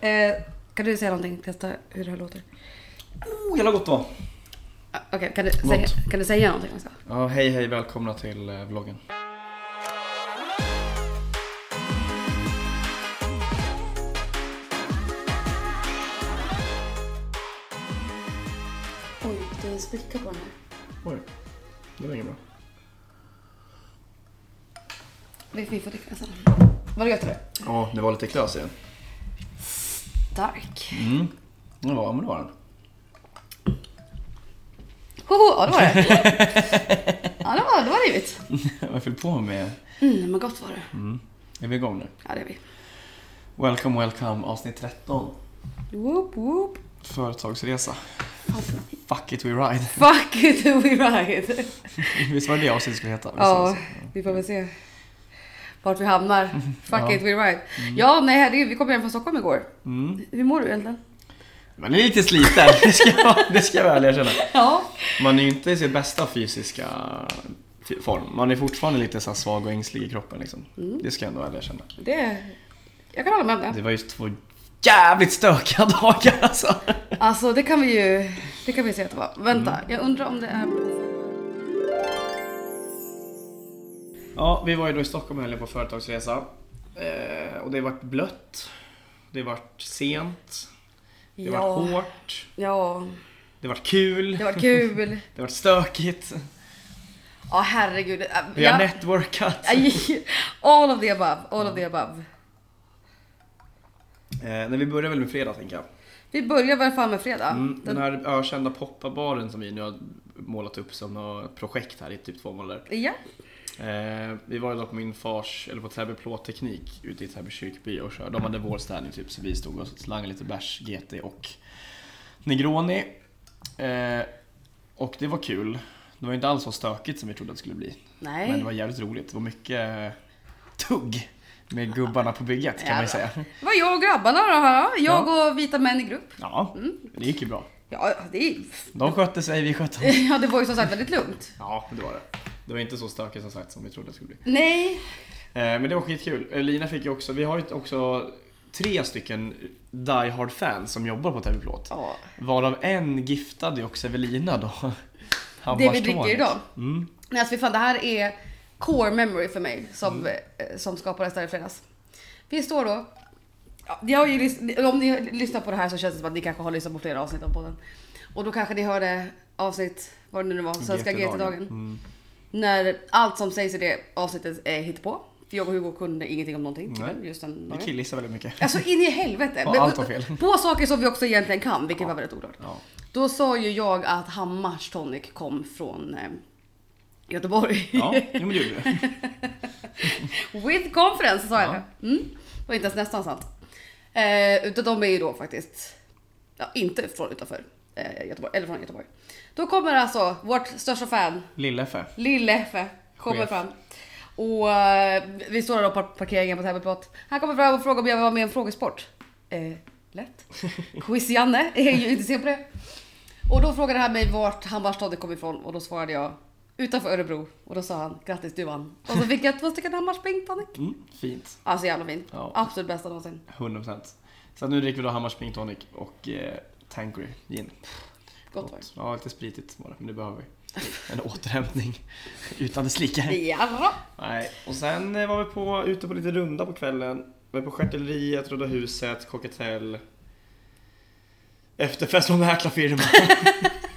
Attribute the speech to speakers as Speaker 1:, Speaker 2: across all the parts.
Speaker 1: Eh, kan du säga någonting? Testa hur det här låter.
Speaker 2: Oh, jävla gott det var!
Speaker 1: Ah, Okej, kan, du säga, kan du säga någonting också?
Speaker 2: Ja, hej hej, välkomna till eh, vloggen.
Speaker 1: Oj, det spricker på den här.
Speaker 2: Oj, det var inget bra.
Speaker 1: Vi, vi får dricka alltså. en sån. Var det gött eller?
Speaker 2: Ja, det var lite klös i den.
Speaker 1: Stark.
Speaker 2: Mm. Ja, men det var den.
Speaker 1: Hoho, ja det var det. ja det var det var livet.
Speaker 2: Jag fyllde på med...
Speaker 1: Mm, men gott var det.
Speaker 2: Är vi igång nu?
Speaker 1: Ja det är vi.
Speaker 2: Welcome, welcome, avsnitt 13.
Speaker 1: Whoop whoop.
Speaker 2: Företagsresa. Fuck it, we ride.
Speaker 1: Fuck it, we ride.
Speaker 2: Visst var det det avsnittet skulle heta? Visst var
Speaker 1: Ja,
Speaker 2: det så?
Speaker 1: vi får väl se vart vi hamnar. Fuck
Speaker 2: Ja.
Speaker 1: it, we ride. Ja, nej herregud, vi kom hem från Stockholm igår.
Speaker 2: Mm.
Speaker 1: Hur mår du egentligen?
Speaker 2: Man är lite sliten, det ska jag, det ska jag väl erkänna.
Speaker 1: Ja.
Speaker 2: Man är ju inte i sin bästa fysiska fi- form. Man är fortfarande lite så här svag och ängslig i kroppen liksom. Det ska jag ändå väl erkänna.
Speaker 1: Det... Jag kan hålla med om
Speaker 2: Det
Speaker 1: det.
Speaker 2: var ju två jävligt stökiga dagar alltså.
Speaker 1: Alltså det kan vi ju... Det kan vi säga att det var. Vänta,
Speaker 2: Mm.
Speaker 1: jag undrar om det är...
Speaker 2: Ja, vi var ju då i Stockholm och helgen på företagsresa. Eh, och det vart blött. Det vart sent. Det vart
Speaker 1: Ja.
Speaker 2: hårt.
Speaker 1: Ja.
Speaker 2: Det vart kul.
Speaker 1: Det var kul.
Speaker 2: Det vart stökigt.
Speaker 1: Ja, herregud. Äh,
Speaker 2: Vi har
Speaker 1: ja.
Speaker 2: networkat.
Speaker 1: Aj, All of the above. All of the above.
Speaker 2: Eh, när vi börjar väl med fredag tänker jag.
Speaker 1: Vi börjar väl fan med fredag.
Speaker 2: Mm, den
Speaker 1: Den-
Speaker 2: här ökända poppabaren som vi nu har målat upp som något projekt här i typ två månader.
Speaker 1: Ja.
Speaker 2: Eh, vi var ju då på min fars, eller på Täby Plåtteknik ute i Täby kyrkby och körde. De hade vår städning typ så vi stod och slangade lite bärs, GT och Negroni. Eh, och det var kul. Det var ju inte alls så stökigt som vi trodde att det skulle bli.
Speaker 1: Nej.
Speaker 2: Men det var jävligt roligt. Det var mycket tugg med gubbarna på bygget kan man ju säga.
Speaker 1: Det var jag och grabbarna då. va? Jag och vita män i grupp.
Speaker 2: Ja, det gick ju bra.
Speaker 1: Ja, det är...
Speaker 2: De skötte sig, vi skötte oss.
Speaker 1: Ja, det var ju som sagt väldigt lugnt.
Speaker 2: Ja, det var det. Det var inte så stökigt som sagt som vi trodde det skulle bli.
Speaker 1: Nej.
Speaker 2: Eh, Men det var skitkul. Eh, Lina fick ju också, vi har ju också tre stycken Die Hard fans som jobbar på Täby Plåt.
Speaker 1: Ja.
Speaker 2: Varav en giftade ju också Evelina då.
Speaker 1: Det vi dricker
Speaker 2: Hammarstånet.
Speaker 1: idag.
Speaker 2: Mm.
Speaker 1: Nej, alltså fy fan, det här är core memory för mig som,
Speaker 2: Mm.
Speaker 1: eh, som skapades där i fredags. Vi står då. Ja, jag har ju, lys- om ni lyssnar på det här så känns det som att ni kanske har lyssnat på flera avsnitt av podden. Och då kanske ni hörde avsnitt, vad det nu var, Svenska
Speaker 2: GT-dagen.
Speaker 1: GT-dagen.
Speaker 2: Mm.
Speaker 1: När allt som sägs i det avsnittet är hittepå. För jag och Hugo kunde ingenting om någonting.
Speaker 2: Nej.
Speaker 1: typ, Just den
Speaker 2: Vi
Speaker 1: dagen.
Speaker 2: killgissar väldigt mycket.
Speaker 1: Alltså in i helvete.
Speaker 2: Ja,
Speaker 1: Men-
Speaker 2: allt var fel.
Speaker 1: På saker som vi också egentligen kan, vilket var väldigt oklart.
Speaker 2: Ja.
Speaker 1: Då sa ju jag att Hammars tonic kom från eh, Göteborg.
Speaker 2: Ja, jo, men det gjorde du.
Speaker 1: With conference sa jag
Speaker 2: Ja.
Speaker 1: det. Mm. Det var inte ens nästan sant. Eh, utan de är ju då faktiskt, ja, inte från utanför eh, Göteborg, eller från Göteborg. Då kommer alltså vårt största fan,
Speaker 2: Lill-Effe.
Speaker 1: Lill-Effe, kommer
Speaker 2: Chef.
Speaker 1: fram. Och eh, vi står där då på parkeringen på Täby plåt. Han kommer fram och frågar om jag vill vara med i en frågesport. Eh, lätt. Quiz-Janne är ju intresserad på det. Och då frågade han mig vart Hammarstadiet kom ifrån och då svarade jag utanför Örebro. Och då sa han grattis du vann. Och så fick jag två stycken Hammars Pink Tonic.
Speaker 2: Mm, fint.
Speaker 1: Alltså jävla fint.
Speaker 2: Ja.
Speaker 1: Absolut bästa någonsin.
Speaker 2: 100%. Så nu dricker vi då Hammars Pink Tonic och eh, Tanqueray gin.
Speaker 1: Gott var det.
Speaker 2: Ja, lite spritigt var det, men det behöver vi. En återhämtning utan dess like.
Speaker 1: Jävlar.
Speaker 2: Nej, och sen eh, var vi på, ute på lite runda på kvällen. Var på Stjärtelleriet, Röda huset, Cockatell. Efterfest med mäklarfirma.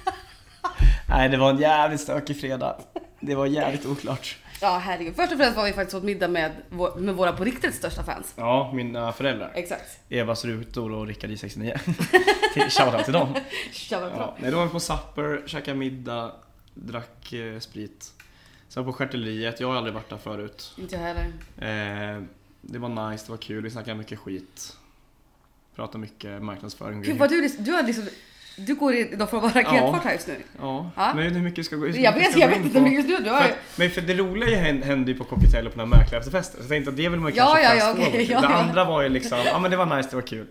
Speaker 2: Nej, det var en jävligt stökig fredag. Det var jävligt oklart.
Speaker 1: Ja herregud. Först och främst var vi faktiskt åt middag med, vår- med våra på riktigt största fans.
Speaker 2: Ja, mina föräldrar.
Speaker 1: Exakt.
Speaker 2: Evas rutor och Rickard i 69. Till- Shoutout till dem.
Speaker 1: Jävla bra.
Speaker 2: Ja, nej, då var vi på Supper, käkade middag, drack eh, sprit. Sen på Stjärtelleriet, jag har aldrig varit där förut.
Speaker 1: Inte jag heller.
Speaker 2: Eh, det var nice, det var kul, vi snackade mycket skit. Pratade mycket marknadsföring.
Speaker 1: Gud vad du, du har liksom, du går i de får vara raketfart här just nu.
Speaker 2: Ja,
Speaker 1: Ja.
Speaker 2: men jag vet inte hur mycket vi ska gå hur mycket
Speaker 1: Jag
Speaker 2: vi
Speaker 1: vet,
Speaker 2: ska
Speaker 1: jag
Speaker 2: gå
Speaker 1: vet
Speaker 2: in
Speaker 1: inte
Speaker 2: på.
Speaker 1: men just nu, du
Speaker 2: För
Speaker 1: har
Speaker 2: att, men för det roliga hände, hände ju på Cocktail och på den här mäklarefterfesten. Så jag tänkte att det vill man ju
Speaker 1: Ja,
Speaker 2: kanske
Speaker 1: ja,
Speaker 2: fast
Speaker 1: ja,
Speaker 2: forward
Speaker 1: okej,
Speaker 2: till.
Speaker 1: ja,
Speaker 2: Det
Speaker 1: ja.
Speaker 2: andra var ju liksom, ja men det var nice, det var kul.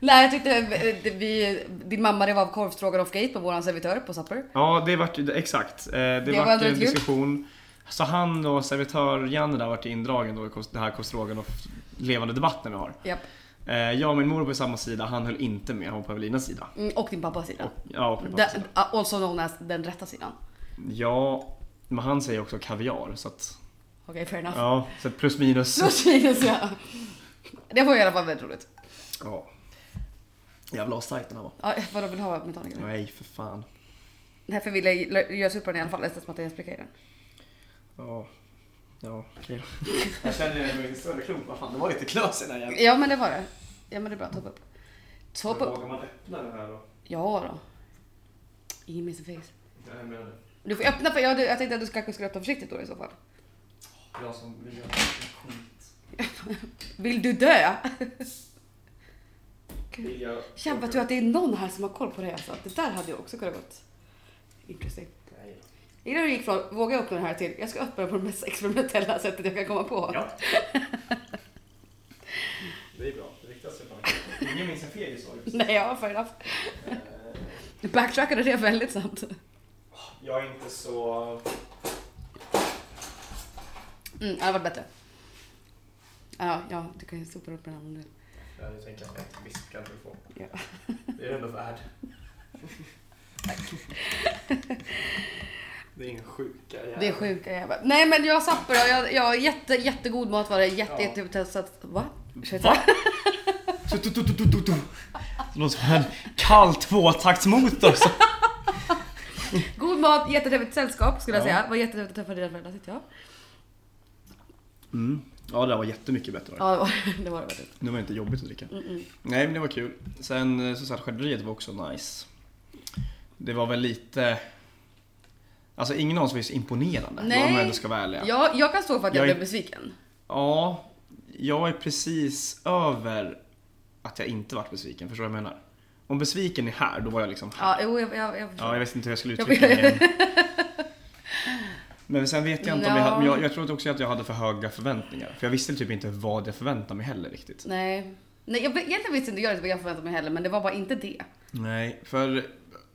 Speaker 1: Nej jag tyckte eh, det- vi, din mamma rev av korvstrågan off gate på våran servitör på Supper.
Speaker 2: Ja, det vart ju, det- exakt. Eh, Det,
Speaker 1: var
Speaker 2: vart ju en
Speaker 1: väldigt kul.
Speaker 2: diskussion. Så han och servitör Janne där vart indragen då i kost- det här Kostroganoff levande debatten vi har.
Speaker 1: Japp.
Speaker 2: Eh, jag och min mor på samma sida, han höll inte med, han var på Evelinas sida.
Speaker 1: Mm, och din pappas sida.
Speaker 2: Och, ja, och min pappas
Speaker 1: Den,
Speaker 2: sida.
Speaker 1: also known as den rätta sidan.
Speaker 2: Ja, men han säger också kaviar så att,
Speaker 1: Okej, fair enough.
Speaker 2: ja, så att plus minus.
Speaker 1: Så Linus, ja. Det var i alla fall väldigt roligt.
Speaker 2: Ja. Jävla astajt den här var.
Speaker 1: Ja, vadå vill du ha med tonic?
Speaker 2: Nej, för fan.
Speaker 1: Nej, för ville jag lösa upp den i alla fall eftersom att jag spräcker den.
Speaker 2: Ja. Ja, okej då. Jag känner mig i en större klump, vad fan, det var lite klös i den här jäveln.
Speaker 1: Ja, men det var det. Ja, men det är bra. Topp upp. Topp upp.
Speaker 2: man öppna den här då?
Speaker 1: Ja då. In miss face.
Speaker 2: Nej, jag menar det.
Speaker 1: Du får öppna för... Ja, du, jag tänkte att du ska- kanske skulle öppna försiktigt då i så fall.
Speaker 2: Jag som vill göra skit.
Speaker 1: Vill du dö?
Speaker 2: Vill jag...
Speaker 1: Jävla tur att det är någon här som har koll på det alltså. Det där hade jag också kunnat gått. Interesting.
Speaker 2: Nej.
Speaker 1: Jag gillar hur du gick från våga öppna den här till jag ska öppna den på det mest experimentella sättet jag kan komma på.
Speaker 2: Ja. Det är bra, det riktas ju fan. Ingen minns en fegis var det.
Speaker 1: Nej, ja, fair enough.
Speaker 2: Eh,
Speaker 1: Du backtrackade det väldigt snabbt.
Speaker 2: Jag är inte så...
Speaker 1: Mm, det var bättre. Ja, ja, du kan ju sopa upp den här om du vill.
Speaker 2: Ja, nu tänker jag att ett visp kan du få.
Speaker 1: Ja.
Speaker 2: Det är du ändå värd. Det är en sjuka jävel.
Speaker 1: Det är sjuka jävlar. Nej men jag sapper och jag, jag har jätte, jättegod mat var det. Jätte,
Speaker 2: Ja.
Speaker 1: jättetestat. Va? Ursäkta?
Speaker 2: Va? Så tu- tu- tu- tu- tu- tu. Det låter som en kall tvåtaktsmotor. så-
Speaker 1: God mat, jättetrevligt sällskap skulle jag
Speaker 2: Ja.
Speaker 1: säga. Det var jättetrevligt att träffa dina föräldrar tyckte jag.
Speaker 2: Mm. Ja, det där var jättemycket bättre.
Speaker 1: Ja det var det, Mm, var det väldigt.
Speaker 2: Nu var det inte jobbigt att dricka.
Speaker 1: Mm-mm.
Speaker 2: Nej, men det var kul. Sen eh, så stjärtskärteriet var också nice. Det var väl lite... Alltså ingen av oss var ju så imponerande.
Speaker 1: Nej.
Speaker 2: Om jag ändå ska vara ärlig.
Speaker 1: Ja, jag kan stå för att jag,
Speaker 2: Jag är-
Speaker 1: blev besviken.
Speaker 2: Ja, jag är precis över att jag inte varit besviken. Förstår du vad jag menar? Om besviken är här, då var jag liksom här.
Speaker 1: Ja, jo, jag, jag, jag
Speaker 2: Ja,
Speaker 1: förstår.
Speaker 2: jag visste inte hur jag skulle
Speaker 1: Jag
Speaker 2: uttrycka
Speaker 1: vet.
Speaker 2: mig. Men sen vet jag inte om jag
Speaker 1: Ja.
Speaker 2: hade, men jag, jag tror också att jag hade för höga förväntningar. För jag visste typ inte vad jag förväntade mig heller riktigt.
Speaker 1: Nej. Nej, jag, vet- egentligen visste inte jag det vad jag förväntade mig heller, men det var bara inte det.
Speaker 2: Nej, för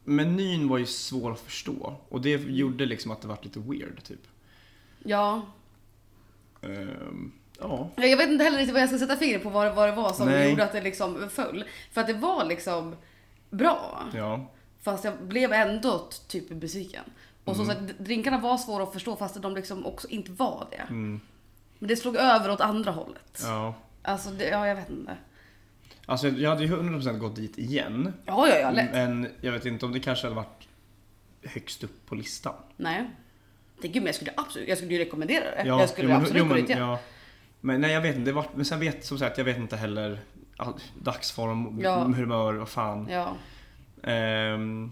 Speaker 2: menyn var ju svår att förstå. Och det gjorde liksom att det vart lite weird typ.
Speaker 1: Ja.
Speaker 2: Ehm, ja.
Speaker 1: Ja, Jag vet inte heller riktigt vad jag ska sätta fingret på vad, det- vad det var som
Speaker 2: Nej.
Speaker 1: gjorde att det liksom föll. För att det var liksom bra.
Speaker 2: Ja.
Speaker 1: Fast jag blev ändå t- typ besviken. Och som
Speaker 2: Mm.
Speaker 1: sagt, d- drinkarna var svåra att förstå fast de liksom också inte var det.
Speaker 2: Mm,
Speaker 1: Men det slog över åt andra hållet.
Speaker 2: ja.
Speaker 1: Alltså, det, ja jag vet inte.
Speaker 2: Alltså jag hade ju 100% gått dit igen.
Speaker 1: Ja, ja, ja, lätt.
Speaker 2: Mm, Men jag vet inte om det kanske hade varit högst upp på listan.
Speaker 1: Nej. Tänk, gud, men jag skulle absolut, jag skulle ju rekommendera det.
Speaker 2: Ja,
Speaker 1: Eh, jag skulle
Speaker 2: jo, men-
Speaker 1: absolut
Speaker 2: jo,
Speaker 1: gå
Speaker 2: men-
Speaker 1: dit igen.
Speaker 2: ja. Men nej jag vet inte, det var, men sen vet som sagt jag vet inte heller all, dagsform,
Speaker 1: Ja.
Speaker 2: humör, vad fan. Ja,
Speaker 1: Ja.
Speaker 2: ehm,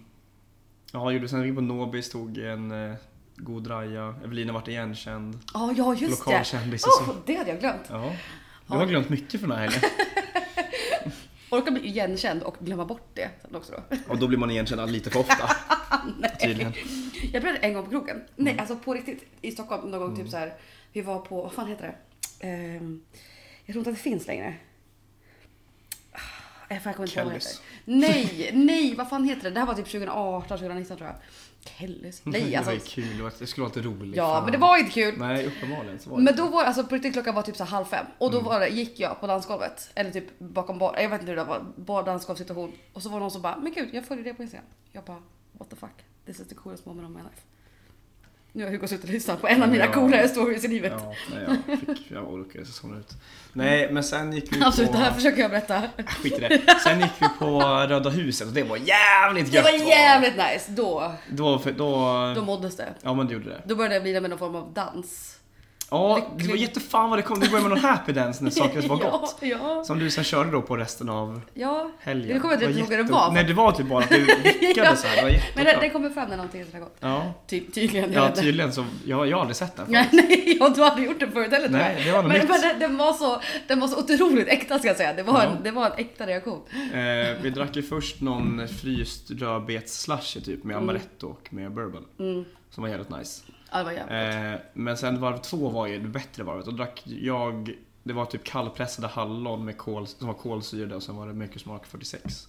Speaker 2: ja gjorde sen vi gick på Nobis, tog en eh, god raja, Evelina vart igenkänd,
Speaker 1: Ja, ja, just det.
Speaker 2: lokalkändis och
Speaker 1: Oh,
Speaker 2: så.
Speaker 1: det hade jag glömt.
Speaker 2: Ja. Du har glömt mycket från den här helgen.
Speaker 1: Orkar bli igenkänd och glömma bort det sen också då.
Speaker 2: Och då blir man igenkänd lite för ofta. Tydligen.
Speaker 1: Jag blev det en gång på krogen. Nej,
Speaker 2: Mm.
Speaker 1: alltså på riktigt. I Stockholm någon gång typ så här. Vi var på, vad fan heter det? Ehm, jag tror inte att det finns längre. Ah, Jag fan, jag kommer inte ihåg vad det heter.
Speaker 2: Kellys.
Speaker 1: Nej, nej, vad fan heter det? Det här var typ 2018, 2019 tror jag. Kellys? Nej,
Speaker 2: det var
Speaker 1: alltså.
Speaker 2: ju kul, det var- det skulle vara lite roligt.
Speaker 1: Ja,
Speaker 2: Fan.
Speaker 1: men det var inte kul.
Speaker 2: Nej, uppenbarligen så var det
Speaker 1: Men
Speaker 2: inte.
Speaker 1: då var alltså på riktigt klockan var typ så här halv fem och då
Speaker 2: Mm.
Speaker 1: var det, gick jag på dansgolvet eller typ bakom bar, jag vet inte hur det var, bar dansgolvsituation och så var det någon som bara men gud jag följer det på Instagram. Jag bara what the fuck this is the coolest moment of my life. Nu har Hugo suttit och lyssnat på en av mina
Speaker 2: Ja.
Speaker 1: coolare stories i livet.
Speaker 2: Ja, nej, jag, fick, jag orkade så zooma ut. Nej, men sen gick vi på...
Speaker 1: Mm. Absolut, det här försöker jag berätta.
Speaker 2: Skit i det. Sen gick vi på Röda huset och det var jävligt
Speaker 1: Det
Speaker 2: gött.
Speaker 1: var jävligt nice. Då,
Speaker 2: Då, för, då,
Speaker 1: då måddes det.
Speaker 2: Ja men det gjorde det.
Speaker 1: Då började jag bli med någon form av dans.
Speaker 2: Ja, det var jättefan vad det kom. Det började med någon happy dance när saker var gott.
Speaker 1: Ja, ja.
Speaker 2: Som du sen körde då på resten av
Speaker 1: ja.
Speaker 2: helgen.
Speaker 1: Nu kommer jag inte ihåg vad det
Speaker 2: jätte-
Speaker 1: var.
Speaker 2: Nej det var typ bara att du vickade så här. Det var
Speaker 1: Men det,
Speaker 2: jättebra.
Speaker 1: det kommer fram när någonting är sådär gott.
Speaker 2: Ja.
Speaker 1: Ty, tydligen. jag
Speaker 2: ja,
Speaker 1: vet inte.
Speaker 2: tydligen så. Jag, jag har aldrig sett den förut.
Speaker 1: Nej, nej, jag du aldrig gjort det förut heller tror
Speaker 2: Nej,
Speaker 1: jag.
Speaker 2: det var något
Speaker 1: Men,
Speaker 2: nytt.
Speaker 1: men den, den, var så, den var så otroligt äkta ska jag säga. Det var,
Speaker 2: Ja.
Speaker 1: en, det var en äkta reaktion.
Speaker 2: Eh, vi drack ju först någon fryst rödbets-slushy typ
Speaker 1: Mm.
Speaker 2: med amaretto och med bourbon. Som var jävligt nice.
Speaker 1: Ja, det var jävligt.
Speaker 2: Eh, men sen varv två var ju det bättre varvet. Och drack jag, det var typ kallpressade hallon med kol, som var kolsyrade och sen var det mörkersmak 46.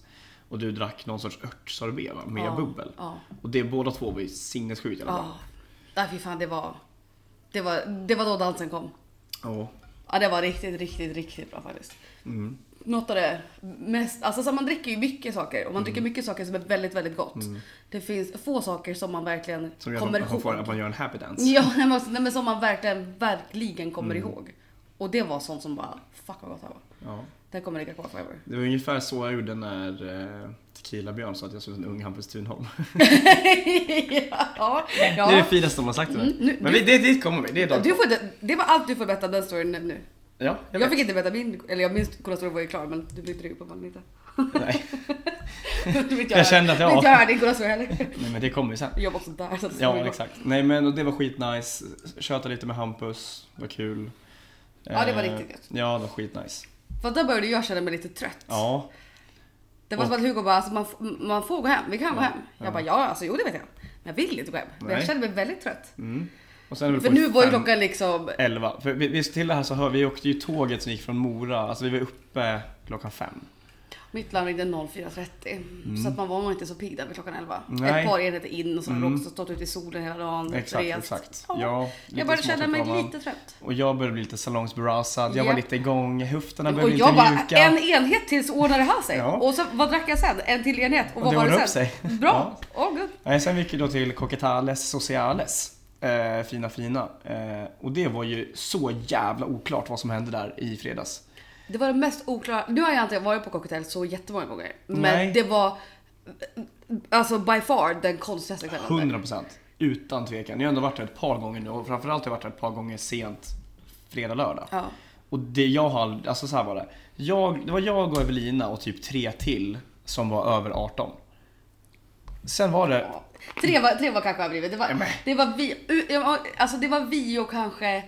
Speaker 2: Och du drack någon sorts örtsorbet va? med
Speaker 1: Ja,
Speaker 2: bubbel.
Speaker 1: Ja.
Speaker 2: Och det båda två var ju sinnessjukt jävla bra.
Speaker 1: Ja. Nej, fy fan det var, det var... Det var då dansen kom.
Speaker 2: Ja.
Speaker 1: Ja, det var riktigt, riktigt, riktigt bra faktiskt.
Speaker 2: Mm.
Speaker 1: något av det mest, alltså så man dricker ju mycket saker och man
Speaker 2: Mm.
Speaker 1: dricker mycket saker som är väldigt, väldigt gott. Det finns få saker som man verkligen
Speaker 2: Som gör
Speaker 1: kommer
Speaker 2: att man,
Speaker 1: ihåg.
Speaker 2: får, att man gör en happy dance.
Speaker 1: Ja, nej, men, nej, men som man verkligen, verkligen kommer
Speaker 2: Mm.
Speaker 1: ihåg. Och det var sånt som bara, fuck vad gott det här var.
Speaker 2: Ja.
Speaker 1: Det kommer ligga kvar forever.
Speaker 2: Det var ungefär så jag gjorde när eh, Tequila-Björn sa att jag såg ut som en ung Hampus Thunholm.
Speaker 1: ja,
Speaker 2: Det är det
Speaker 1: ja.
Speaker 2: finaste de har sagt till mig.
Speaker 1: nu-
Speaker 2: Men vi, det, dit kommer vi. Det är dag
Speaker 1: Du får, inte- det var allt du får berätta den storyn nu.
Speaker 2: Ja, jag,
Speaker 1: Jag
Speaker 2: vet.
Speaker 1: fick inte berätta min, eller jag minns kolla story var ju klar men du byggde ju uppenbarligen inte.
Speaker 2: Nej.
Speaker 1: Du vet,
Speaker 2: Jag kände att jag-
Speaker 1: var... Inte jag hörde din kolla story heller.
Speaker 2: Nej men det kommer ju sen.
Speaker 1: Jag var också där så att det
Speaker 2: Ja
Speaker 1: var-
Speaker 2: exakt. Nej men och det var skitnice. Tjötade lite med Hampus. Var kul.
Speaker 1: Ja, det var
Speaker 2: Eh,
Speaker 1: riktigt gött.
Speaker 2: Ja det var skitnice.
Speaker 1: För att där började jag känna mig lite trött.
Speaker 2: Ja.
Speaker 1: Det var som att Hugo bara, alltså, man, f- man får gå hem, vi kan gå hem. Jag
Speaker 2: ja.
Speaker 1: bara, ja alltså jo det vet jag. Men jag vill inte gå hem. Men jag
Speaker 2: Nej.
Speaker 1: kände mig väldigt trött.
Speaker 2: Mm. Och sen är det
Speaker 1: För
Speaker 2: på
Speaker 1: nu var ju
Speaker 2: fem-
Speaker 1: klockan liksom,
Speaker 2: 11. För vi, vi, till det här så hör vi åkte ju tåget som gick från Mora. Alltså vi var uppe klockan fem.
Speaker 1: mitt larm ringde 04.30. Så att man var nog inte så pigg där vid klockan 11.
Speaker 2: Mm. Nej.
Speaker 1: Ett par enheter in och så hade
Speaker 2: Mm.
Speaker 1: du också stått ute i solen hela dagen.
Speaker 2: Exakt,
Speaker 1: rest.
Speaker 2: exakt.
Speaker 1: Mm, Ja.
Speaker 2: Ja,
Speaker 1: jag började känna mig
Speaker 2: småtrött var man.
Speaker 1: lite trött.
Speaker 2: Och jag började bli lite salongsberusad. Jag
Speaker 1: Ja.
Speaker 2: var lite igång. Höfterna
Speaker 1: Och
Speaker 2: började
Speaker 1: jag
Speaker 2: lite
Speaker 1: bara,
Speaker 2: mjuka.
Speaker 1: en enhet till så ordnar det här sig.
Speaker 2: Ja.
Speaker 1: Och så, vad drack jag sen? En till enhet. Och,
Speaker 2: Och
Speaker 1: vad
Speaker 2: det
Speaker 1: var
Speaker 2: ordnade
Speaker 1: det
Speaker 2: upp
Speaker 1: sen?
Speaker 2: sig.
Speaker 1: Bra! Åh gud.
Speaker 2: Nej, sen gick vi då till Coquetales Sociales. Eh, fina fina. Eh, och det var ju så jävla oklart vad som hände där i fredags.
Speaker 1: Det var det mest oklara. Nu har jag inte varit på cocktail så jättemånga gånger. Men
Speaker 2: Nej.
Speaker 1: det var alltså by far den konstigaste kvällen.
Speaker 2: 100% utan tvekan. Jag har ändå varit där ett par gånger nu och framförallt har jag varit där ett par gånger sent fredag, lördag.
Speaker 1: Ja.
Speaker 2: Och det jag har, ald- alltså så här var det. Jag, det var jag och Evelina och typ tre till som var över 18. Sen var det,
Speaker 1: Ja. Tre var, tre var kanske överdrivet. Det var,
Speaker 2: Nej, men-
Speaker 1: det var vi, u- ja, alltså det var vi och kanske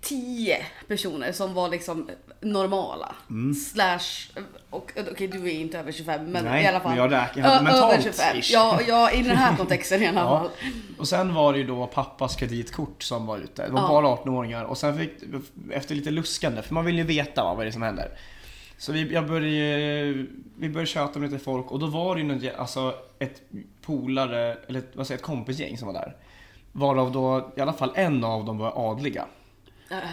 Speaker 1: tio personer som var liksom normala.
Speaker 2: Mm.
Speaker 1: Slash, och okej du är inte över 25 men
Speaker 2: Nej,
Speaker 1: i alla fall.
Speaker 2: men jag räknar-
Speaker 1: Ö-
Speaker 2: mentalt,
Speaker 1: över 25.
Speaker 2: ish.
Speaker 1: Ja, ja, i den här kontexten i alla fall.
Speaker 2: Ja. Och sen var det ju då pappas kreditkort som var ute. Det var
Speaker 1: Ja.
Speaker 2: bara 18-åringar och sen fick, efter lite luskande, för man vill ju veta va, vad det är som händer. Så vi, jag började, ju- vi började tjata med lite folk och då var det ju något, gä- alltså ett polare, eller ett- vad säger jag, ett kompisgäng som var där. Varav då i alla fall en av dem var adliga.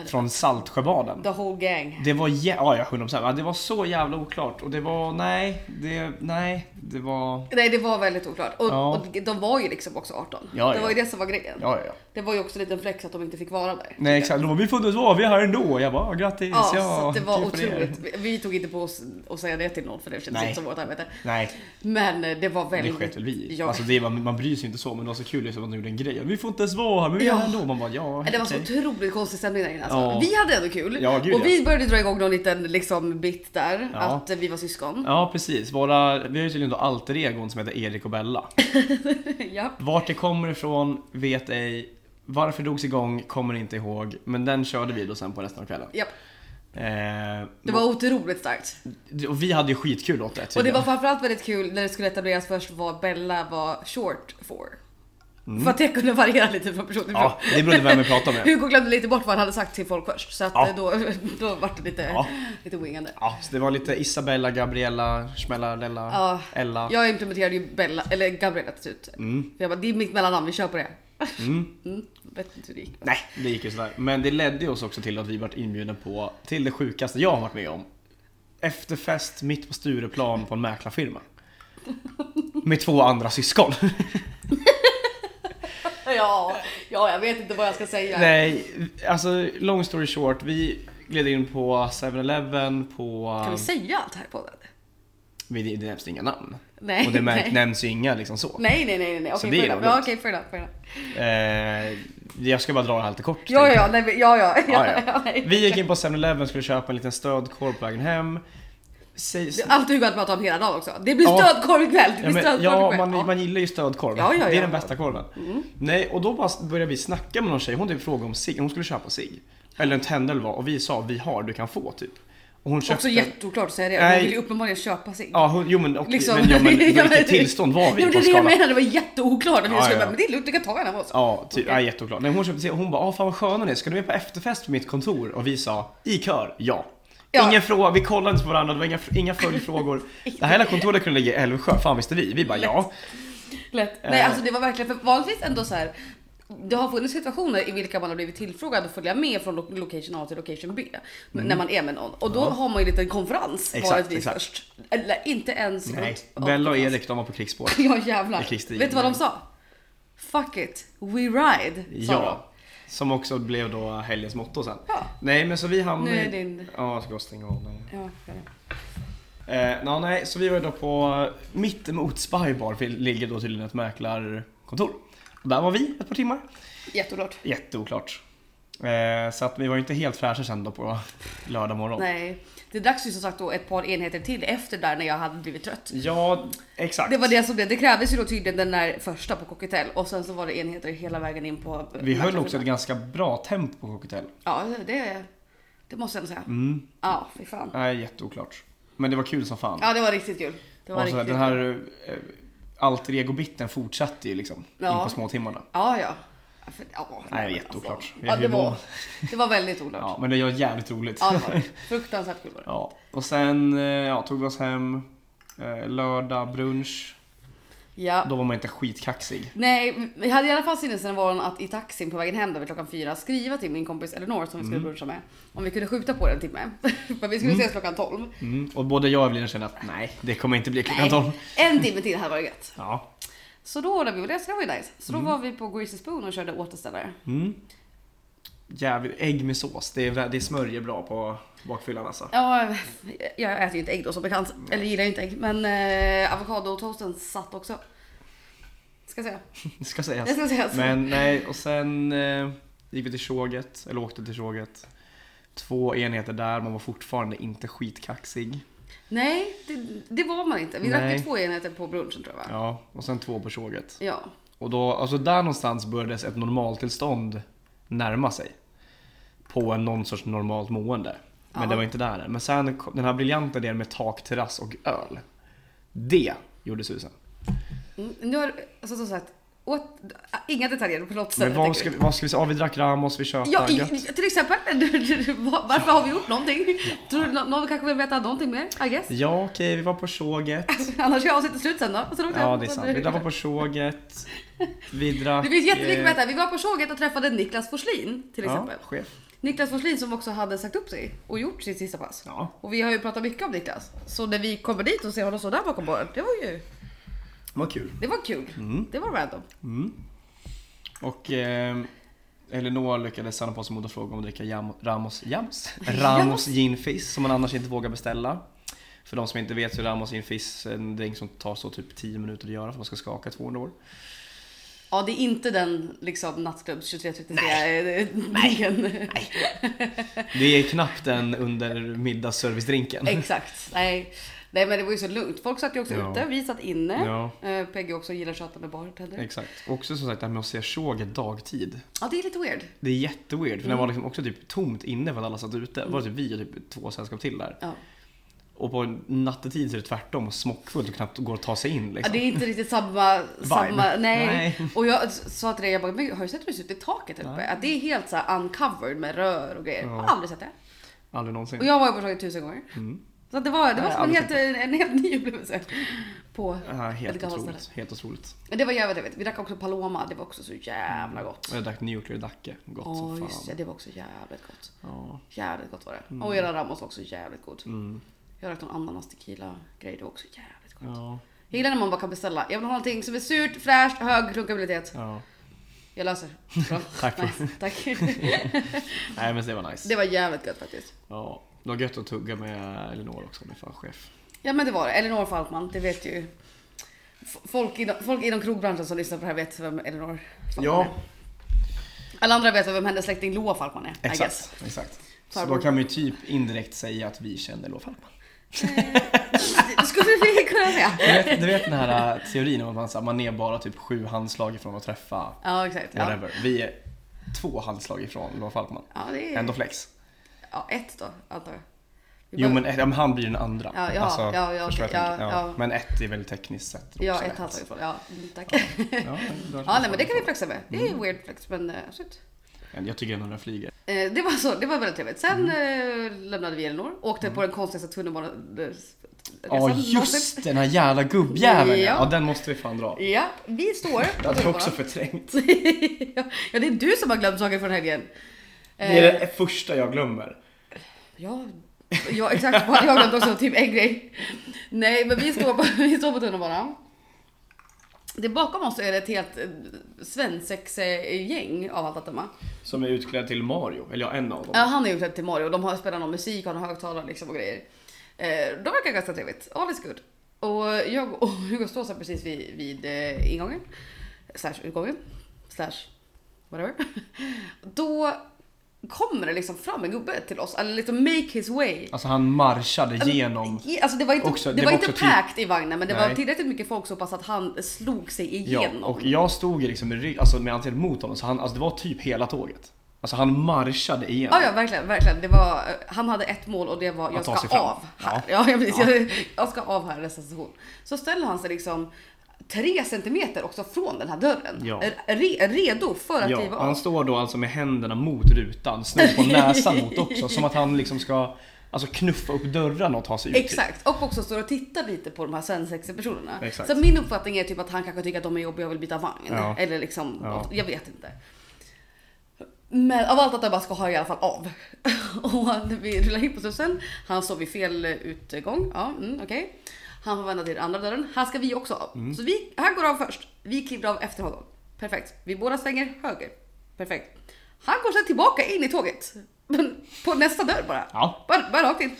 Speaker 2: Från Saltsjöbaden.
Speaker 1: The whole gang.
Speaker 2: Det var jä- ja, ja, 100%. Ja, Det var så jävla oklart och det var, nej, det, nej, det var,
Speaker 1: Nej det var väldigt oklart. Och,
Speaker 2: Ja.
Speaker 1: och de var ju liksom också 18.
Speaker 2: Ja,
Speaker 1: det
Speaker 2: ja.
Speaker 1: var ju det som var grejen.
Speaker 2: ja ja ja.
Speaker 1: Det var ju också en liten flex att de inte fick vara där.
Speaker 2: Nej exakt, de bara, vi får inte vara, vi är här ändå. Jag bara, "Ah, grattis.
Speaker 1: Ja, så att det var
Speaker 2: kul för er."
Speaker 1: otroligt. Vi, vi tog inte på oss att säga det till någon för det kändes
Speaker 2: Nej.
Speaker 1: inte som vårt arbete.
Speaker 2: Nej,
Speaker 1: Men eh, det var
Speaker 2: det
Speaker 1: väldigt...
Speaker 2: sket väl vi i.
Speaker 1: Ja.
Speaker 2: alltså, det var, Man bryr sig inte så, men det var så kul liksom, att de gjorde en grej. Vi får inte ens vara här, men vi är
Speaker 1: Ja.
Speaker 2: här ändå. Man bara, ja,
Speaker 1: det var så
Speaker 2: okej.
Speaker 1: otroligt konstig stämning där inne alltså.
Speaker 2: Ja.
Speaker 1: Vi hade ändå kul.
Speaker 2: Ja, gud,
Speaker 1: och
Speaker 2: ja.
Speaker 1: vi började dra igång någon liten liksom, bit där.
Speaker 2: Ja.
Speaker 1: Att eh, vi var syskon.
Speaker 2: Ja, precis. Våra, vi har ju tydligen då alter egon som heter Erik och Bella.
Speaker 1: ja.
Speaker 2: Vart det kommer ifrån vet ej. Varför drogs igång kommer inte ihåg, men den körde vi då sen på resten av kvällen.
Speaker 1: Ja.
Speaker 2: Eh,
Speaker 1: Det var otroligt starkt.
Speaker 2: och vi hade ju skitkul åt det
Speaker 1: Och det
Speaker 2: tydligen.
Speaker 1: var framförallt väldigt kul när det skulle etableras först vad Bella var short for. För att det kunde variera lite från person till person.
Speaker 2: Mm. Ja, det berodde på vem vi pratade med.
Speaker 1: Hugo glömde lite bort vad han hade sagt till folk först så att
Speaker 2: Ja.
Speaker 1: eh, då, då var det lite,
Speaker 2: Ja.
Speaker 1: lite wingande.
Speaker 2: Ja, så det var lite Isabella, Gabriella, Schmellarella,
Speaker 1: Ja.
Speaker 2: Ella.
Speaker 1: Jag implementerade ju Bella, eller Gabriella till slut.
Speaker 2: Mm.
Speaker 1: För Jag bara, det är mitt mellannamn, vi kör på det. Mm, vet inte hur det gick.
Speaker 2: Nej, det gick ju sådär. Men det ledde ju oss också till att vi vart inbjudna på, till det sjukaste jag har varit med om. Efterfest mitt på Stureplan på en mäklarfirma. Med två andra syskon.
Speaker 1: Ja, ja, jag vet inte vad jag ska säga.
Speaker 2: Nej, alltså long story short. Vi gled in på 7-Eleven på...
Speaker 1: Kan vi säga allt här på podden?
Speaker 2: vi, det nämns inga namn.
Speaker 1: Nej,
Speaker 2: Och det märk,
Speaker 1: nej.
Speaker 2: nämns ju inga liksom så.
Speaker 1: Nej, nej, nej, nej, nej. Okej,
Speaker 2: det är
Speaker 1: fair enough.
Speaker 2: lugnt.
Speaker 1: Ja, okej, fair enough, fair enough.
Speaker 2: Eh, jag ska bara dra det här lite kort.
Speaker 1: Ja, ja, ja, nej, men- ja, ja,
Speaker 2: Ja,
Speaker 1: ja, ja,
Speaker 2: ja.
Speaker 1: nej.
Speaker 2: Vi gick in på 7-Eleven och skulle köpa en liten stödkorv på vägen hem. Säg-
Speaker 1: Det är Allt Hugo har pratat om hela dagen också. Det blir
Speaker 2: Ja.
Speaker 1: stödkorv ikväll! Det
Speaker 2: Ja,
Speaker 1: blir
Speaker 2: men,
Speaker 1: stödkorv
Speaker 2: ja
Speaker 1: ikväll.
Speaker 2: man,
Speaker 1: Ja.
Speaker 2: man gillar ju stödkorv.
Speaker 1: Ja, ja,
Speaker 2: Det är
Speaker 1: ja. Mm.
Speaker 2: den bästa korven. Nej, och då bara började vi snacka med någon tjej. Hon typ frågade om cigg. Hon skulle köpa cigg. Eller en tända eller vad. Och vi sa vi har, du kan få typ. Och hon köpte.
Speaker 1: Också jätteoklart att säga det.
Speaker 2: Nej.
Speaker 1: Man vill ju uppenbarligen köpa sig.
Speaker 2: Ja, hon, jo men, och,
Speaker 1: Liksom.
Speaker 2: men, ja, men
Speaker 1: Ja, men-
Speaker 2: vilket tillstånd var vi
Speaker 1: Ja,
Speaker 2: på
Speaker 1: men det är
Speaker 2: en
Speaker 1: det jag
Speaker 2: skala?
Speaker 1: menar, det var jätteoklart. att vi
Speaker 2: Ja,
Speaker 1: skulle bara,
Speaker 2: ja, ja.
Speaker 1: Men det är lugnt, du kan ta en av oss.
Speaker 2: Ja, typ,
Speaker 1: Okej.
Speaker 2: ja, jätteoklart. Nej, hon köpte cigg. Hon bara, ah, fan vad sköna ni är. Ska du med på efterfest på mitt kontor? Och vi sa, i kör, ja.
Speaker 1: Ja.
Speaker 2: Ingen fråga, vi kollade inte på varandra, det var inga, inga följdfrågor. Det här hela kontoret kunde ligga i Älvsjö, fan visste vi? Vi bara ja. Eh.
Speaker 1: Lätt. Nej, alltså det var verkligen, för vanligtvis ändå så här det har funnits situationer i vilka man har blivit tillfrågad att följa med från lo- location A till location B. När man är med någon. Och då
Speaker 2: Mm. Ja.
Speaker 1: har man ju en liten konferens
Speaker 2: Exakt,
Speaker 1: vanligtvis
Speaker 2: exakt.
Speaker 1: först. Eller inte ens.
Speaker 2: Nej,
Speaker 1: Ja, alltså.
Speaker 2: Bella och Erik de var på krigsspår.
Speaker 1: Ja
Speaker 2: I
Speaker 1: jävlar.
Speaker 2: krigsstigen.
Speaker 1: Vet du vad de sa? Fuck it, we ride. Sa
Speaker 2: Ja. Som också blev då helgens motto sen.
Speaker 1: Ja.
Speaker 2: Nej men så vi hamnade...
Speaker 1: Nu är din-
Speaker 2: Ja, jag ska bara stänga av den.
Speaker 1: de. Ja, jag vet.
Speaker 2: Eh, nå, nej, så vi var ju då på mittemot Spybar, för det ligger då tydligen ett mäklarkontor. Och där var vi ett par timmar.
Speaker 1: Jätteoklart.
Speaker 2: Jätteoklart. Eh, så att vi var ju inte helt fräscha sen då på lördag morgon.
Speaker 1: Nej. Det dracks ju som sagt då ett par enheter till efter där när jag hade blivit trött.
Speaker 2: Ja, exakt.
Speaker 1: Det var det som blev. Det krävdes ju då tydligen den där första på Cockatell och sen så var det enheter hela vägen in på...
Speaker 2: Vi höll också ett ganska bra tempo på Cockatell.
Speaker 1: Ja, det, det måste jag ändå säga.
Speaker 2: Mm.
Speaker 1: Ja, fy fan.
Speaker 2: Nej, jätteoklart. Men det var kul som fan.
Speaker 1: Ja, det var riktigt kul. Det var
Speaker 2: och så,
Speaker 1: riktigt
Speaker 2: den
Speaker 1: kul.
Speaker 2: här eh, alter ego-biten fortsatte ju liksom in
Speaker 1: Ja.
Speaker 2: på småtimmarna.
Speaker 1: Ja, ja. Ja, för- Ja,
Speaker 2: Nej,
Speaker 1: men
Speaker 2: jätteoklart.
Speaker 1: alltså.
Speaker 2: Vi
Speaker 1: Ja,
Speaker 2: hade
Speaker 1: det,
Speaker 2: ju
Speaker 1: var,
Speaker 2: mål.
Speaker 1: det var väldigt oklart.
Speaker 2: Ja,
Speaker 1: Ja.
Speaker 2: men det var jävligt roligt.
Speaker 1: det var det. Fruktansvärt kul var det.
Speaker 2: Ja, och sen eh, ja, tog vi oss hem. eh, Lördag brunch.
Speaker 1: Ja.
Speaker 2: Då var man inte skitkaxig.
Speaker 1: Nej, vi hade i alla fall sinnesnärvaron att i taxin på vägen hem där vid klockan fyra skriva till min kompis Eleanor som vi skulle
Speaker 2: Mm.
Speaker 1: bruncha med. Om vi kunde skjuta på den timme. För vi skulle ses klockan tolv.
Speaker 2: Mm. Och både jag och Evelina kände att nej, det kommer inte bli klockan
Speaker 1: Nej,
Speaker 2: 12.
Speaker 1: En timme till hade varit gött.
Speaker 2: Ja.
Speaker 1: Så då ordnade vi och det, så det var ju nice. Så då var vi på Greasy Spoon och körde återställare.
Speaker 2: Mm. Jävligt, ägg med sås. Det, är, det smörjer bra på bakfyllan alltså.
Speaker 1: Ja, jag äter ju inte ägg då som bekant. Eller gillar ju inte ägg. Men eh, avokadotoasten satt också. Ska jag säga.
Speaker 2: Det ska sägas.
Speaker 1: Det ska sägas.
Speaker 2: Men nej, och sen eh, gick vi till tjoget, eller åkte till tjoget. Två enheter där, man var fortfarande inte skitkaxig.
Speaker 1: Nej, det, det var man inte. Vi drack
Speaker 2: Nej.
Speaker 1: ju två enheter på brunchen tror jag va?
Speaker 2: Ja, och sen två på tjoget.
Speaker 1: Ja.
Speaker 2: Och då, alltså där någonstans började ett normaltillstånd närma sig. På en någon sorts normalt mående. Men
Speaker 1: Ja.
Speaker 2: det var inte där än. Men sen kom den här briljanta idén med tak, terrass och öl. Det gjorde susen.
Speaker 1: Mm, Nu har alltså, som sagt, åt, inga detaljer på något
Speaker 2: Men
Speaker 1: sätt.
Speaker 2: vad
Speaker 1: tänker
Speaker 2: ska,
Speaker 1: vi.
Speaker 2: vi- vad ska vi säga? Ja, vi drack Ramos, vi köpte
Speaker 1: Ja, i,
Speaker 2: gött.
Speaker 1: i- till exempel. Varför har vi gjort någonting? Tror du nå- någon kanske vill veta någonting mer? I guess.
Speaker 2: Ja, okej, vi var på tjoget.
Speaker 1: Annars är avsnittet slut sen då. Så då
Speaker 2: Ja, det är sant. Vi var på tjoget. Vi drack...
Speaker 1: Det finns jättemycket
Speaker 2: eh,
Speaker 1: att veta. Vi var på tjoget och träffade Niklas Forslin till exempel.
Speaker 2: Ja, chef.
Speaker 1: Niklas Forslin som också hade sagt upp sig och gjort sitt sista pass.
Speaker 2: Ja.
Speaker 1: Och vi har ju pratat mycket om Niklas. Så när vi kommer dit och ser honom så där bakom baren, det var ju...
Speaker 2: Vad kul.
Speaker 1: Det var kul.
Speaker 2: Mm.
Speaker 1: Det var random.
Speaker 2: Och eh, Elinor lyckades samla på sig mod och fråga om att dricka jam, Ramos, jams, Ramos gin fizz som man annars inte vågar beställa. För de som inte vet så är Ramos gin fizz en drink som tar så typ 10 minuter att göra för man ska skaka 200 år.
Speaker 1: Ja, det är inte den liksom nattklubbs eh, 23-33-grejen.
Speaker 2: Det är knappt en under middagsservicedrinken.
Speaker 1: Exakt. Nej. Nej, men det var ju så lugnt. Folk satt ju också
Speaker 2: Ja.
Speaker 1: ute, vi satt inne.
Speaker 2: Ja.
Speaker 1: Eh, Peggy också gillar att tjata med bartender.
Speaker 2: Exakt. Och Också som sagt det här med att se tjoget dagtid.
Speaker 1: Ja, det är lite weird.
Speaker 2: Det är jätteweird för det var
Speaker 1: Mm.
Speaker 2: liksom också typ tomt inne för att alla satt ute. Det var typ vi och typ två sällskap till där.
Speaker 1: Ja.
Speaker 2: Och på nattetid så är det tvärtom och smockfullt och knappt går att ta sig in
Speaker 1: Ja,
Speaker 2: liksom.
Speaker 1: det är inte riktigt samma... samma nej.
Speaker 2: Nej.
Speaker 1: Och jag sa till dig, jag bara, men har du sett hur det ser ut i taket här uppe? Att det är helt så här uncovered med rör och grejer.
Speaker 2: Ja.
Speaker 1: Jag har aldrig sett det.
Speaker 2: Aldrig någonsin.
Speaker 1: Och jag var ju på taket tusen gånger.
Speaker 2: Mm.
Speaker 1: Så att det var, det var
Speaker 2: Nej,
Speaker 1: som en
Speaker 2: aldrig
Speaker 1: helt, en, en helt ny upplevelse. På
Speaker 2: Ja, helt,
Speaker 1: gammalt
Speaker 2: otroligt, helt otroligt.
Speaker 1: Men det var jävligt trevligt. Vi drack också Paloma, det var också så jävla gott.
Speaker 2: Och jag drack Nuclear Dacke. Mm. Gott
Speaker 1: Ja
Speaker 2: som fan. Mm.
Speaker 1: just det, det var också jävligt gott.
Speaker 2: Ja. Mm.
Speaker 1: Jävligt gott var det. Och era Ramos var också jävligt god. Jag drack någon ananas tequila grej, det var också jävligt gott.
Speaker 2: Ja.
Speaker 1: Jag gillar när man bara kan beställa. Jag vill ha någonting som är surt, fräscht, hög klunkabilitet.
Speaker 2: ja.
Speaker 1: Jag löser. Bra.
Speaker 2: Tack för-
Speaker 1: nice. Tack.
Speaker 2: Nej men det var nice.
Speaker 1: Det var jävligt gött faktiskt.
Speaker 2: Ja. Det var gött att tugga med Elinor också, min fan chef.
Speaker 1: Ja men det var det. Elinor Falkman, det vet ju. F- Folk inom, folk inom krogbranschen som lyssnar på det här vet vem Elinor Falkman är. Alla andra vet vem hennes släkting Loa Falkman är. I guess.
Speaker 2: exakt. exakt. Så då
Speaker 1: Farbror.
Speaker 2: kan man ju typ indirekt säga att vi känner Lof Falkman.
Speaker 1: Det skulle vi kunna säga.
Speaker 2: Du vet, du vet den här äh, teorin om att man, så här, man är bara typ sju handslag ifrån att träffa
Speaker 1: Ja exakt. Ja.
Speaker 2: whatever. Vi är två handslag ifrån Loa Falkman.
Speaker 1: Ja, det är...
Speaker 2: Ändå flex.
Speaker 1: ja, ett då antar jag. Vi
Speaker 2: Jo
Speaker 1: behöver-
Speaker 2: men ett, ja, men han blir den andra. Alltså,
Speaker 1: Ja, ja, ja, ja,
Speaker 2: förstår vad jag
Speaker 1: okej,
Speaker 2: tänker?
Speaker 1: ja, ja.
Speaker 2: Men ett är väl tekniskt sett också
Speaker 1: Ja,
Speaker 2: rätt.
Speaker 1: ett handslag ifrån. Ja, mm, tack.
Speaker 2: Ja, Mm.
Speaker 1: Ja, nej, men det kan vi flexa med. Det är weird flex, men eh, absolut.
Speaker 2: Jag tycker ändå den flyger.
Speaker 1: Eh, det var så, det var väldigt trevligt. Sen
Speaker 2: Mm.
Speaker 1: eh, lämnade vi Elinor, åkte på den konstigaste tunnelbanan...
Speaker 2: Ja just den här jävla gubbjäveln ja. ja. den måste vi fan dra.
Speaker 1: Ja, vi står på
Speaker 2: Jag hade
Speaker 1: tunnelbanan.
Speaker 2: också förträngt.
Speaker 1: ja, det är du som har glömt saker från helgen. Eh.
Speaker 2: Det är det första jag glömmer.
Speaker 1: Ja, ja exakt. Jag har glömt också typ en grej. Nej, men vi står på, vi står på tunnelbanan. Det bakom oss är det ett helt eh, svensex-gäng av allt att döma.
Speaker 2: Som är utklädd till Mario, eller ja en av dem.
Speaker 1: Ja, han är utklädd till Mario. De har spelat någon musik, har någon högtalare liksom och grejer. Eh, De verkar ganska trevligt. All is good. Och jag och Hugo står så här precis vid, vid eh, ingången. Slash utgången. Slash whatever. Då kommer det liksom fram en gubbe till oss. Eller liksom make his way.
Speaker 2: Alltså han marschade genom.
Speaker 1: I- Alltså det var inte,
Speaker 2: Också-
Speaker 1: det
Speaker 2: det
Speaker 1: var
Speaker 2: var
Speaker 1: inte
Speaker 2: också typ-
Speaker 1: packed i vagnen men det var
Speaker 2: Nej.
Speaker 1: tillräckligt mycket folk så pass att han slog sig
Speaker 2: Ja,
Speaker 1: igenom.
Speaker 2: och jag stod ju liksom med, rygg- alltså, med ansiktet mot honom så han, alltså det var typ hela tåget. Alltså han marschade igenom.
Speaker 1: Ja, ja, verkligen, verkligen. Det var, eh, han hade ett mål och det var jag
Speaker 2: ta sig
Speaker 1: ska
Speaker 2: fram.
Speaker 1: av här. Ja,
Speaker 2: Ja.
Speaker 1: precis. Jag, jag ska av här i nästa station. Så ställer han sig liksom tre centimeter också från den här dörren.
Speaker 2: Ja.
Speaker 1: Re, redo för att
Speaker 2: Ja,
Speaker 1: kliva av.
Speaker 2: han står då alltså med händerna mot rutan, snudd på näsan mot också. Som att han liksom ska alltså, knuffa upp dörrarna och ta sig ut. typ.
Speaker 1: Exakt, och också står och tittar lite på de här svensexiga personerna.
Speaker 2: Exakt.
Speaker 1: Så min uppfattning är typ att han kanske tycker att de är jobbiga och vill byta vagn.
Speaker 2: Ja.
Speaker 1: Eller liksom,
Speaker 2: Ja.
Speaker 1: något. jag vet inte. Men av allt att döma ska ha i alla fall av. Och han- vi rullar in på slussen, han står vid fel eh, utgång. Ja, mm, okej. Han får vända till den andra dörren. Här ska vi också av.
Speaker 2: Mm.
Speaker 1: Så vi, han går av först. Vi kliver av efter honom. Perfekt. Vi båda svänger höger. Perfekt. Han går sen tillbaka in i tåget. Men på nästa dörr bara.
Speaker 2: Ja.
Speaker 1: Bara, bara rakt in.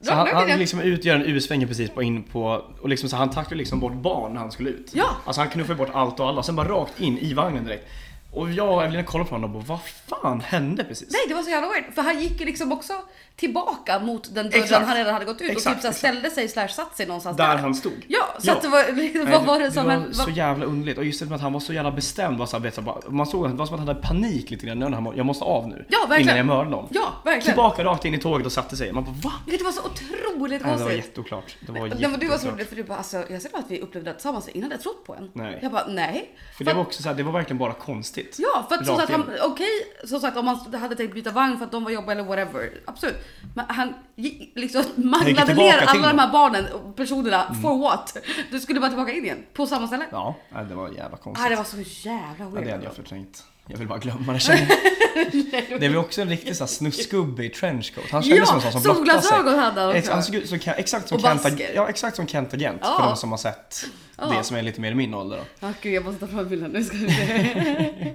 Speaker 2: Så
Speaker 1: Rakt-
Speaker 2: han,
Speaker 1: rakt in
Speaker 2: han
Speaker 1: igen.
Speaker 2: liksom ut, gör en U-sväng precis på in på, och liksom så han tacklar liksom bort barn när han skulle ut.
Speaker 1: Ja.
Speaker 2: Alltså han knuffar bort allt och alla, sen bara rakt in i vagnen direkt. Och jag och Evelina kollar på honom och bara, vad fan hände precis?
Speaker 1: Nej det var så jävla weird, för han gick ju liksom också tillbaka mot den dörren
Speaker 2: Exakt.
Speaker 1: han redan hade gått ut och
Speaker 2: Exakt,
Speaker 1: typ så här
Speaker 2: exakt.
Speaker 1: ställde sig slash satt sig någonstans där.
Speaker 2: Där han stod.
Speaker 1: alltså, Ja, så
Speaker 2: Ja.
Speaker 1: att det var, vad var det som
Speaker 2: var
Speaker 1: hände?
Speaker 2: så jävla underligt och just det med att han var så jävla bestämd var så här, vet, så här, bara- man såg att det var som att han hade panik lite grann när han var- jag måste av nu
Speaker 1: Ja, verkligen.
Speaker 2: innan jag mördar någon.
Speaker 1: Ja, verkligen.
Speaker 2: Tillbaka rakt in i tåget och satte sig. Man bara va?
Speaker 1: Vilket var så otroligt
Speaker 2: Nej, det var
Speaker 1: konstigt.
Speaker 2: jätteoklart. Det var
Speaker 1: Nej,
Speaker 2: jätteoklart.
Speaker 1: men du var så roligt för du bara alltså, jag ser bara att vi upplevde det tillsammans, ingen hade trott på en.
Speaker 2: Nej.
Speaker 1: Jag bara nej.
Speaker 2: För det var också så här, det var verkligen bara konstigt.
Speaker 1: Ja, för att som
Speaker 2: Rakt
Speaker 1: sagt, han,
Speaker 2: in.
Speaker 1: okej, som sagt om han hade tänkt byta vagn för att de var jobbiga eller whatever. Absolut. Men han gick, liksom manglade
Speaker 2: tillbaka
Speaker 1: ner
Speaker 2: till
Speaker 1: alla de
Speaker 2: dem. Mm.
Speaker 1: här barnen och personerna for what? Du skulle bara tillbaka in igen, på samma ställe.
Speaker 2: Ja, nej, det var jävla konstigt.
Speaker 1: Ah, det var så jävla
Speaker 2: Ja,
Speaker 1: weird.
Speaker 2: det hade jag förträngt. Jag vill bara glömma det känner jag. Det var också en riktig sån här snusgubbe i trenchcoat. Han kändes
Speaker 1: Ja,
Speaker 2: som en sån som blottar sig.
Speaker 1: solglasögon hade han också.
Speaker 2: Ex- Han såg ut som Ke- exakt som
Speaker 1: Och
Speaker 2: Kent
Speaker 1: basker.
Speaker 2: Ag- Ja, exakt som Kent Agent.
Speaker 1: Ja.
Speaker 2: För de som har sett
Speaker 1: Ja.
Speaker 2: det som är lite mer i min ålder då.
Speaker 1: Ah, gud, jag måste ta fram bilden nu. Ska vi se.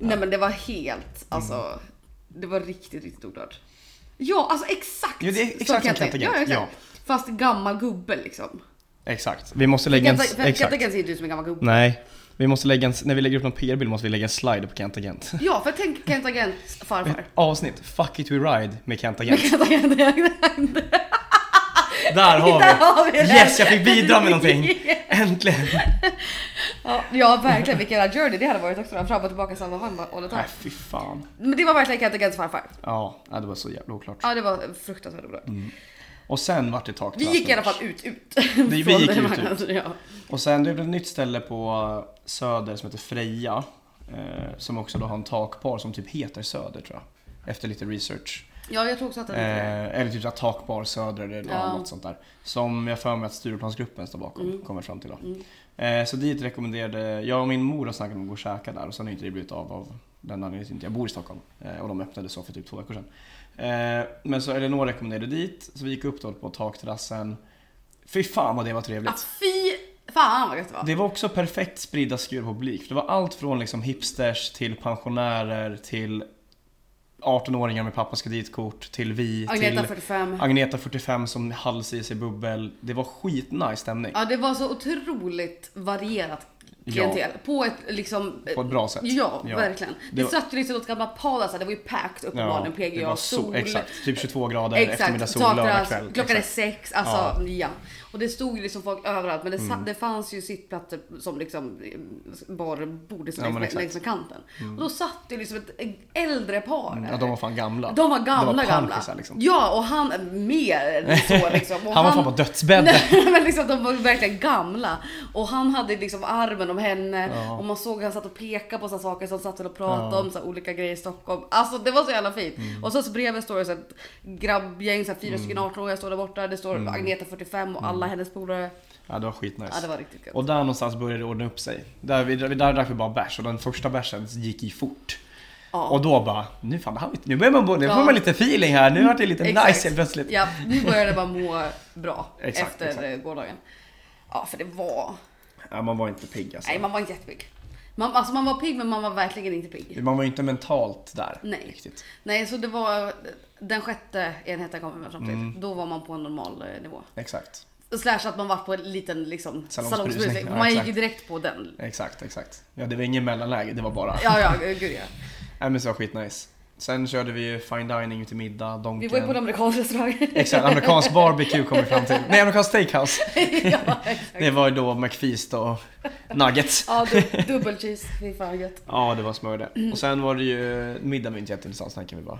Speaker 1: Nej men det var helt, alltså.
Speaker 2: Mm.
Speaker 1: Det var riktigt, riktigt oklart. Ja, alltså exakt.
Speaker 2: Ja, det är exakt som Kent Agent,
Speaker 1: Ja, exakt.
Speaker 2: ja.
Speaker 1: Fast gammal gubbe liksom.
Speaker 2: Exakt. Vi måste lägga en...
Speaker 1: Kent Agent- Kent
Speaker 2: Exakt.
Speaker 1: Agent ser inte ut som en gammal gubbe.
Speaker 2: Nej. Vi måste lägga en... När vi lägger upp någon PR-bild måste vi lägga en slide på Kent Agent.
Speaker 1: Ja, för tänk Kent Agent farfar.
Speaker 2: Avsnitt Fuck it we ride med Kent Agent.
Speaker 1: Kent Agent,
Speaker 2: Där har vi!
Speaker 1: Där har vi det.
Speaker 2: Yes, jag fick bidra med någonting! Äntligen!
Speaker 1: ja, ja, verkligen vilken jävla journey det hade varit också. Fram och tillbaka i samma vagn all the time.
Speaker 2: Nej, fy fan.
Speaker 1: Men det var verkligen Kent Agents farfar.
Speaker 2: Ja, nej, det var så jävla oklart.
Speaker 1: Ja, det var fruktansvärt oklart.
Speaker 2: Och sen vart det taktrassel.
Speaker 1: Vi gick i alla fall ut, ut.
Speaker 2: vi
Speaker 1: från
Speaker 2: gick
Speaker 1: den
Speaker 2: ut,
Speaker 1: vagnen, Ja.
Speaker 2: Och sen blev det ett nytt ställe på Söder som heter Freja. Eh, som också då har en takbar som typ heter Söder tror jag. Efter lite research.
Speaker 1: ja, jag tror också att det är det.
Speaker 2: Eh, eller typ så här takbar Söder eller
Speaker 1: Ja. Mm.
Speaker 2: något sånt där. Som jag för mig att Stureplansgruppen står bakom, kommer fram till då. Eh, så dit rekommenderade, jag och min mor har snackat om att gå och käka där och sen har inte det blivit av av den anledningen inte jag bor i Stockholm. Eh, och de öppnade så för typ två veckor sedan. Eh, men så Elinor rekommenderade dit, så vi gick upp då på takterrassen. Fy fan vad det var trevligt.
Speaker 1: Ah, fy fan vad gött det var.
Speaker 2: Det var också perfekt spridda skurar på publik. För det var allt från liksom hipsters till pensionärer till 18-åringar med pappas kreditkort till vi
Speaker 1: Agneta
Speaker 2: till
Speaker 1: 45.
Speaker 2: Agneta 45 som hals i sig bubbel. Det var skitnice stämning.
Speaker 1: Ja, det var så otroligt varierat
Speaker 2: Ja.
Speaker 1: klientel. På ett liksom...
Speaker 2: På ett bra sätt.
Speaker 1: Ja,
Speaker 2: Ja.
Speaker 1: verkligen. Det,
Speaker 2: Det var-
Speaker 1: satt ju liksom åt gamla palasar, det var ju packed
Speaker 2: Ja,
Speaker 1: uppenbarligen.
Speaker 2: det
Speaker 1: PGA,
Speaker 2: var
Speaker 1: sol.
Speaker 2: så, exakt. Typ 22 grader,
Speaker 1: Exakt,
Speaker 2: eftermiddagssol, lördag
Speaker 1: takterrass,
Speaker 2: kväll.
Speaker 1: klockan är
Speaker 2: Exakt.
Speaker 1: sex, alltså ja. Och det stod ju liksom folk överallt men det,
Speaker 2: Mm.
Speaker 1: sa- det fanns ju sittplatser som liksom barbord liksom
Speaker 2: Ja, men
Speaker 1: längs,
Speaker 2: exakt. Mm.
Speaker 1: längs med kanten. Och då satt ju liksom ett äldre par där.
Speaker 2: Ja, de var fan gamla.
Speaker 1: De var
Speaker 2: de
Speaker 1: gamla,
Speaker 2: var
Speaker 1: gamla.
Speaker 2: pampisar, Liksom.
Speaker 1: Ja, och han mer än så liksom. Och
Speaker 2: Han var fan på dödsbädden.
Speaker 1: Nej, men liksom, de var verkligen gamla. Och han hade liksom armen om henne.
Speaker 2: Ja.
Speaker 1: Och man såg hur han satt och pekade på så här saker som satt och pratade
Speaker 2: Ja. Mm.
Speaker 1: om så här, olika grejer i Stockholm. Alltså det var så jävla fint. Och så, så bredvid står det så här, ett grabbgäng, så här, fyra stycken 18-åringar står där borta. Det står
Speaker 2: Mm.
Speaker 1: Agneta 45 och alla hennes polare.
Speaker 2: Ja, det var skitnice.
Speaker 1: Ja det var riktigt kul.
Speaker 2: Mm. Och där någonstans började det ordna upp sig. Där, vi, vi- där drack vi bara bärs och den första bärsen gick ju fort.
Speaker 1: Ja.
Speaker 2: Och då bara, nu fan, det här, nu börjar man, bo- nu
Speaker 1: Ja.
Speaker 2: får man lite feeling här, nu vart det lite
Speaker 1: Exakt.
Speaker 2: nice helt plötsligt.
Speaker 1: Ja, nu börjar det bara må bra
Speaker 2: Exakt,
Speaker 1: efter
Speaker 2: exakt.
Speaker 1: eh, gårdagen. Ja för det var...
Speaker 2: Ja, man var inte pigg alltså.
Speaker 1: Nej man var inte jättepigg. Man, alltså man var pigg men man var verkligen inte pigg.
Speaker 2: Man var ju inte mentalt där
Speaker 1: Nej.
Speaker 2: riktigt.
Speaker 1: Nej, så det var den sjätte enheten kom vi fram till.
Speaker 2: Mm.
Speaker 1: Då var man på en normal eh, nivå.
Speaker 2: Exakt,
Speaker 1: Slash att man var på en liten liksom,
Speaker 2: Salongsberusning.
Speaker 1: salongsberusning.
Speaker 2: Ja,
Speaker 1: man gick
Speaker 2: exakt.
Speaker 1: ju direkt på den.
Speaker 2: exakt, exakt. Ja, det var ingen mellanläge, det var bara.
Speaker 1: Ja, ja, gud ja.
Speaker 2: Nej men så var skitnice. Sen körde vi ju fine dining till middag, donken.
Speaker 1: Vi var ju på en amerikansk restaurang.
Speaker 2: Exakt, amerikansk barbecue kom vi fram till. Nej, amerikansk steakhouse.
Speaker 1: ja, exakt.
Speaker 2: Det var ju då McFeast och nuggets.
Speaker 1: Ja, du, dubbel cheese. Fy fan gött.
Speaker 2: Ja, det var smör det. Och sen var det ju, middagen var inte jätteintressant, sen kan vi bara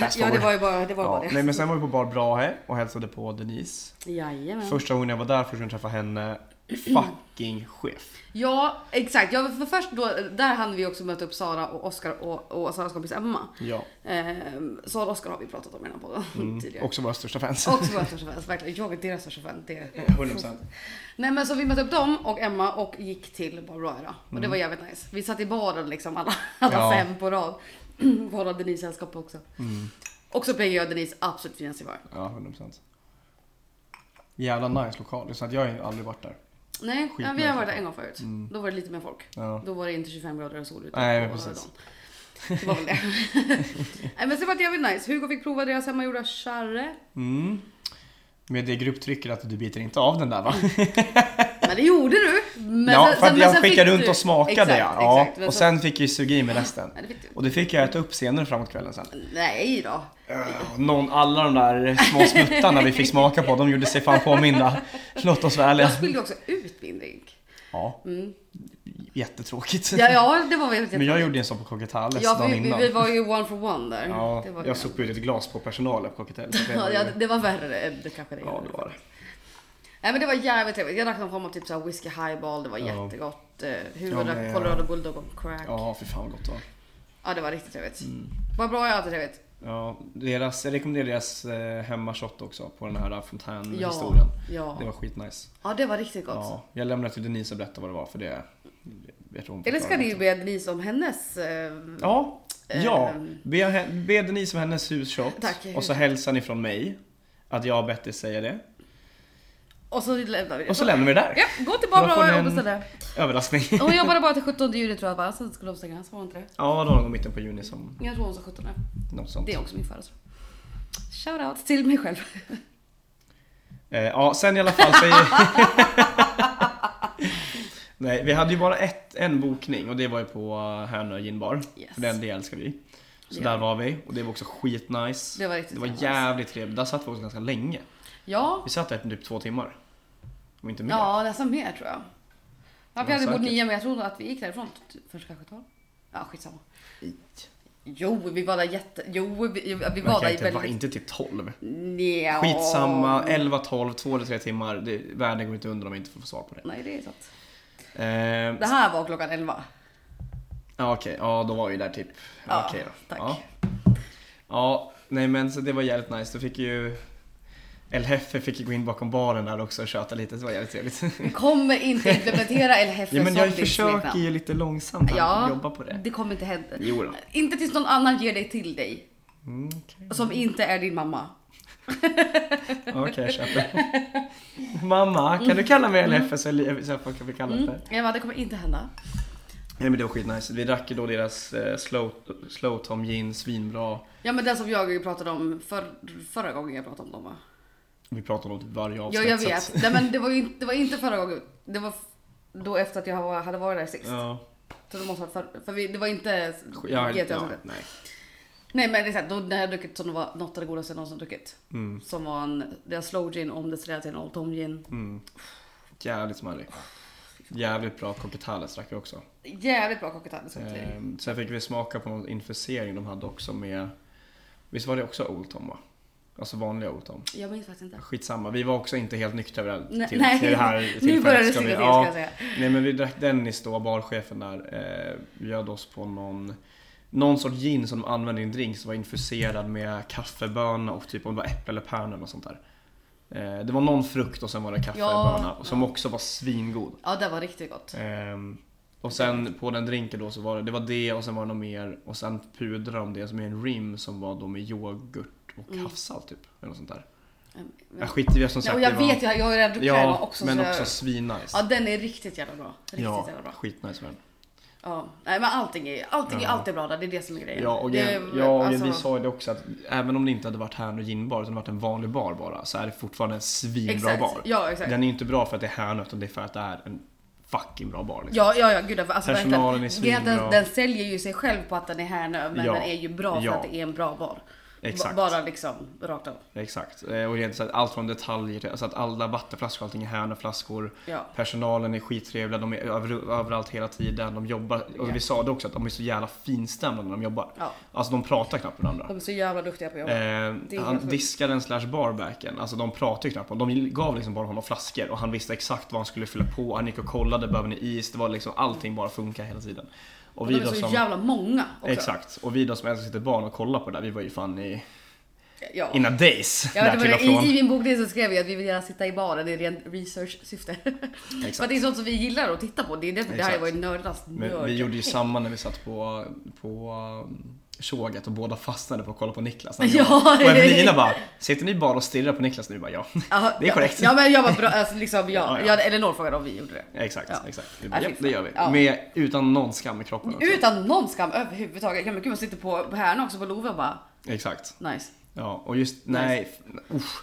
Speaker 2: fast
Speaker 1: Ja, det
Speaker 2: forward.
Speaker 1: var ju bara det. Var
Speaker 2: Ja,
Speaker 1: bara
Speaker 2: nej
Speaker 1: det.
Speaker 2: men sen var vi på Bar Brahe och hälsade på Denise.
Speaker 1: Jajamän.
Speaker 2: Första gången jag var där, första gången jag träffade henne. Fucking chef.
Speaker 1: Ja, exakt. Ja, för först då, där hann vi också möta upp Sara och Oskar och, och Saras kompis Emma.
Speaker 2: Ja.
Speaker 1: Ehm, Sara och Oskar har vi pratat om redan på
Speaker 2: Mm.
Speaker 1: tidigare.
Speaker 2: Också våra största fans.
Speaker 1: Också våra största fans, verkligen. Jag är deras största fan. Det
Speaker 2: 100%.
Speaker 1: Nej men så vi mötte upp dem och Emma och gick till Barbara då. Och det var jävligt nice. Vi satt i baren liksom alla, alla
Speaker 2: Mm. Ja.
Speaker 1: fem på rad. Vi har Denise sällskap också.
Speaker 2: Mm.
Speaker 1: Och så blev jag Denise absolut finaste i bar.
Speaker 2: Ja, 100%. Jävla nice lokal. Så att jag har ju aldrig varit där.
Speaker 1: Nej, ja, vi
Speaker 2: nice.
Speaker 1: har varit där en gång förut. Då var det lite mer folk.
Speaker 2: Ja.
Speaker 1: Då var det inte 25 grader och sol ute.
Speaker 2: Mm. Nej, men
Speaker 1: på
Speaker 2: precis.
Speaker 1: dagen. Det var väl det. Nej men så var det jävligt nice. Hugo fick prova deras hemmagjorda charre.
Speaker 2: Mm. Med det grupptrycket att du biter inte av den där va?
Speaker 1: Men det gjorde du. Men
Speaker 2: ja,
Speaker 1: sen-
Speaker 2: för att
Speaker 1: sen- men sen
Speaker 2: jag
Speaker 1: fick
Speaker 2: skickade runt
Speaker 1: du-
Speaker 2: och smakade
Speaker 1: exakt,
Speaker 2: ja. ja.
Speaker 1: Exakt. Men
Speaker 2: och
Speaker 1: så-
Speaker 2: sen fick jag ju suga i mig resten.
Speaker 1: Nej, det fick du.
Speaker 2: Och det fick jag äta upp senare framåt kvällen sen.
Speaker 1: Nej då.
Speaker 2: Eh, Någon, alla de där små smuttarna vi fick smaka på, de gjorde sig fan påminda. Låt oss vara ärliga.
Speaker 1: Jag spillde också ut min drink. Mm.
Speaker 2: Ja. Jättetråkigt.
Speaker 1: Ja, ja det var väl
Speaker 2: Men jag gjorde en sån på Cockatales
Speaker 1: Ja, för
Speaker 2: dagen
Speaker 1: vi, vi,
Speaker 2: innan.
Speaker 1: vi var ju one for one där.
Speaker 2: ja,
Speaker 1: det var
Speaker 2: jag
Speaker 1: ju-
Speaker 2: sopade ut ett glas på personalen på Cockatales.
Speaker 1: ja, ja, det var värre än det kanske det
Speaker 2: ja,
Speaker 1: gjorde.
Speaker 2: det var det.
Speaker 1: Nej men det var jävligt trevligt. Jag drack någon form av typ så här whisky highball, det var
Speaker 2: Ja.
Speaker 1: jättegott. Eh,
Speaker 2: Ja,
Speaker 1: Huvud
Speaker 2: men,
Speaker 1: drack
Speaker 2: ja.
Speaker 1: Colorado Bulldog och crack. Ja.
Speaker 2: Ja, Mm. för fan vad gott det var.
Speaker 1: det var riktigt trevligt. Vad bra jag alltid trevligt.
Speaker 2: Ja, deras, jag rekommenderar deras eh, hemmashot också på den här eh,
Speaker 1: Ja,
Speaker 2: fontänhistorien.
Speaker 1: ja.
Speaker 2: Det var skitnice.
Speaker 1: Ja det var riktigt gott.
Speaker 2: Ja, jag lämnar till Denise och berätta vad det var för det... Jag tror hon
Speaker 1: Eller ska
Speaker 2: förklarar
Speaker 1: ni be Denise om hennes... Eh,
Speaker 2: Ja, ja.
Speaker 1: Ehm.
Speaker 2: Be, he- be Denise om hennes husshot
Speaker 1: Tack.
Speaker 2: och så hälsar ni från mig att jag har bett er säga det.
Speaker 1: Och så lämnar vi det.
Speaker 2: Och så lämnar vi det där.
Speaker 1: Ja, gå till Barbara
Speaker 2: Då får ni
Speaker 1: och
Speaker 2: en-
Speaker 1: beställ det.
Speaker 2: Överraskning.
Speaker 1: Hon jobbade bara till 17 juli tror jag bara, sen skulle hon stänga. Så var hon inte det.
Speaker 2: Ja, då någon gång i mitten på juni som
Speaker 1: Jag tror hon sa 17.
Speaker 2: något sånt.
Speaker 1: Det är också min födelsedag. Shoutout till mig själv.
Speaker 2: Eh, ja, sen i alla fall så... Nej, vi hade ju bara ett, en bokning och det var ju på Härnö gin bar.
Speaker 1: Yes.
Speaker 2: För den, det älskar vi. Så
Speaker 1: Ja.
Speaker 2: där var vi och det var också skitnice.
Speaker 1: Det var riktigt
Speaker 2: det var
Speaker 1: trevligt.
Speaker 2: jävligt trevligt. Där satt vi också ganska länge.
Speaker 1: Ja,
Speaker 2: Vi satt där i typ två timmar. Om inte mer.
Speaker 1: Ja, nästan mer tror jag. Ja, vi
Speaker 2: Ja,
Speaker 1: hade bott
Speaker 2: säkert.
Speaker 1: nio, men jag tror nog att vi gick därifrån t- först kanske tolv. Ja, skitsamma. Jo, vi var där jätte... Jo, vi, vi
Speaker 2: Man
Speaker 1: var
Speaker 2: kan
Speaker 1: där i
Speaker 2: inte, var
Speaker 1: väldigt...
Speaker 2: inte typ 12.
Speaker 1: Nja.
Speaker 2: Skitsamma, 11, 12, 2 eller 3 timmar. Det, världen går inte under om vi inte får svar på det.
Speaker 1: Nej, det är sant.
Speaker 2: Eh,
Speaker 1: Det här var klockan elva.
Speaker 2: ja, okej, ja då var vi där typ.
Speaker 1: Ja,
Speaker 2: okej då.
Speaker 1: tack.
Speaker 2: Ja. ja, nej men så det var jävligt nice. Då fick ju El Hefe fick ju gå in bakom baren där också och köta lite. Det var jävligt trevligt.
Speaker 1: Vi kommer inte implementera El Hefe
Speaker 2: ja, men
Speaker 1: som
Speaker 2: jag
Speaker 1: ditt
Speaker 2: försöker
Speaker 1: smeknamn.
Speaker 2: ju lite långsamt här,
Speaker 1: Ja,
Speaker 2: jobba på det.
Speaker 1: det kommer inte hända.
Speaker 2: Jo då.
Speaker 1: Inte tills någon annan ger det till dig.
Speaker 2: Mm, Okej,
Speaker 1: Som inte är din mamma.
Speaker 2: Okej, jag köper. Mamma, kan du kalla mig El
Speaker 1: Mm.
Speaker 2: Hefe så jag så jag kan bli kallad för?
Speaker 1: Eva, Mm. det kommer inte hända.
Speaker 2: Nej men det var skitnice. Vi drack ju då deras eh, slow, slow Tom gin, svinbra.
Speaker 1: Ja, men den som jag pratade om för, förra gången jag pratade om dem va?
Speaker 2: Vi pratar om det varje
Speaker 1: Ja,
Speaker 2: avsnitt.
Speaker 1: jag
Speaker 2: så
Speaker 1: vet.
Speaker 2: att-
Speaker 1: Nej, men det, var ju, inte- det var inte förra gången. Det var f- då efter att jag var- hade varit där sist.
Speaker 2: Ja,
Speaker 1: Så det måste ha varit för, för vi, det var inte
Speaker 2: ja,
Speaker 1: GT
Speaker 2: ja,
Speaker 1: avsnittet.
Speaker 2: nej.
Speaker 1: Nej men det är så här, då när jag druckit som det var något av det godaste jag någonsin druckit.
Speaker 2: Mm.
Speaker 1: Som var en, deras slow gin omdestillerad till en Old Tom gin.
Speaker 2: Mm. Jävligt smarrig. Jävligt bra cocktails drack vi också.
Speaker 1: Jävligt bra cocktail. ska jag säga.
Speaker 2: Ehm, sen fick vi smaka på någon infusering de hade också med Visst var det också Old Tom va? Alltså vanliga Oton.
Speaker 1: Jag minns faktiskt inte.
Speaker 2: Skitsamma, vi var också inte helt nyktra över det
Speaker 1: Nej,
Speaker 2: här till,
Speaker 1: nej.
Speaker 2: till det här
Speaker 1: Nu
Speaker 2: tillfället,
Speaker 1: börjar det
Speaker 2: ska vi-
Speaker 1: sticka till ska
Speaker 2: ja.
Speaker 1: jag säga.
Speaker 2: Nej men vi drack Dennis då, barchefen där, eh, bjöd oss på någon någon sorts gin som de använde i en drink som var infuserad med kaffeböna och typ om det var äpple eller päron eller något sånt där. Eh, det var någon frukt och sen var det kaffeböna
Speaker 1: Ja.
Speaker 2: som också var svingod.
Speaker 1: Ja, det var riktigt gott.
Speaker 2: Ehm, och sen på den drinken då så var det, det var det och sen var det något mer och sen pudrade de det som är en rim som var då med yoghurt och
Speaker 1: Mm.
Speaker 2: havssalt typ. Eller något sånt där.
Speaker 1: Mm,
Speaker 2: Jag skiter i det som
Speaker 1: Nej,
Speaker 2: sagt.
Speaker 1: och jag
Speaker 2: det var,
Speaker 1: vet ju, jag har ju redan druckit den
Speaker 2: ja,
Speaker 1: också.
Speaker 2: men
Speaker 1: så
Speaker 2: också
Speaker 1: jag,
Speaker 2: svinnice.
Speaker 1: ja, den är riktigt jävla bra. Riktigt
Speaker 2: ja,
Speaker 1: jävla bra.
Speaker 2: skitnice var den.
Speaker 1: Ja. Nej, men allting är, allting är
Speaker 2: Ja.
Speaker 1: alltid bra där, det är det som är alltså, grejen.
Speaker 2: Ja, och,
Speaker 1: det,
Speaker 2: igen, ja, och vi sa ju det också att även om det inte hade varit Härnö ginbar utan det varit en vanlig bar bara så är det fortfarande en svinbra
Speaker 1: exakt.
Speaker 2: bar.
Speaker 1: Ja, exakt.
Speaker 2: Den är ju inte bra för att det är Härnö utan det är för att det är en fucking bra bar. Liksom.
Speaker 1: Ja, ja, ja, gud. Alltså,
Speaker 2: Personalen
Speaker 1: verkligen. Grejen
Speaker 2: är
Speaker 1: att den,
Speaker 2: svinbra.
Speaker 1: den säljer ju sig själv på att den är här nu, men
Speaker 2: Ja.
Speaker 1: den är ju bra för
Speaker 2: Ja.
Speaker 1: att det är en bra bar. B-
Speaker 2: Exakt.
Speaker 1: Bara liksom rakt av.
Speaker 2: Exakt. Eh, Och rent så att allt från detaljer till alltså att alla vattenflaskor och allting är Härnöflaskor.
Speaker 1: Ja.
Speaker 2: Personalen är skittrevliga, de är över, överallt hela tiden. De jobbar, och
Speaker 1: Ja.
Speaker 2: vi sa det också att de är så jävla finstämda när de jobbar.
Speaker 1: ja.
Speaker 2: Alltså de pratar knappt med varandra.
Speaker 1: De är så jävla duktiga på jobbet. Det är
Speaker 2: Eh,
Speaker 1: helt
Speaker 2: han,
Speaker 1: sjukt.
Speaker 2: diskaren slash barbacken, alltså de pratade ju knappt om De gav liksom bara honom flaskor och han visste exakt vad han skulle fylla på. Han gick och kollade, behöver ni is? Det var liksom allting bara funkar hela tiden.
Speaker 1: Och
Speaker 2: Och
Speaker 1: de
Speaker 2: vi
Speaker 1: är
Speaker 2: då
Speaker 1: så
Speaker 2: som,
Speaker 1: jävla många också.
Speaker 2: Exakt. Och vi då som älskar sitt barn och kollar på det där, vi var ju fan i,
Speaker 1: Ja.
Speaker 2: in a days.
Speaker 1: Ja,
Speaker 2: där
Speaker 1: det
Speaker 2: till
Speaker 1: var
Speaker 2: och
Speaker 1: det. I, I min bokdel så skrev jag att vi vill gärna sitta i baren i ren research-syfte.
Speaker 2: Exakt.
Speaker 1: För att det är sånt som vi gillar att titta på. Det är därför det här
Speaker 2: Exakt.
Speaker 1: var ju nördarnas
Speaker 2: Men
Speaker 1: nörd.
Speaker 2: vi gjorde ju samma när vi satt på, på um, tjoget och båda fastnade på att kolla på Niklas. när han jobbade.
Speaker 1: Ja.
Speaker 2: och Evelina bara, sitter ni bara och stirrar på Niklas nu? Vi bara ja.
Speaker 1: Ja,
Speaker 2: Det är korrekt.
Speaker 1: Ja, men jag var bra, alltså, liksom, ja,
Speaker 2: Ja,
Speaker 1: ja,
Speaker 2: ja.
Speaker 1: Eller någon frågade om vi gjorde det.
Speaker 2: Exakt,
Speaker 1: Ja.
Speaker 2: exakt. Vi
Speaker 1: Ja,
Speaker 2: Bara, ja,
Speaker 1: fy fan.
Speaker 2: det gör vi.
Speaker 1: Ja.
Speaker 2: Med, utan någon skam i kroppen också.
Speaker 1: Utan någon skam överhuvudtaget. Ja, men gud, man sitter på, på här också på Love och bara
Speaker 2: Exakt.
Speaker 1: nice.
Speaker 2: Ja, och just nej, f- usch.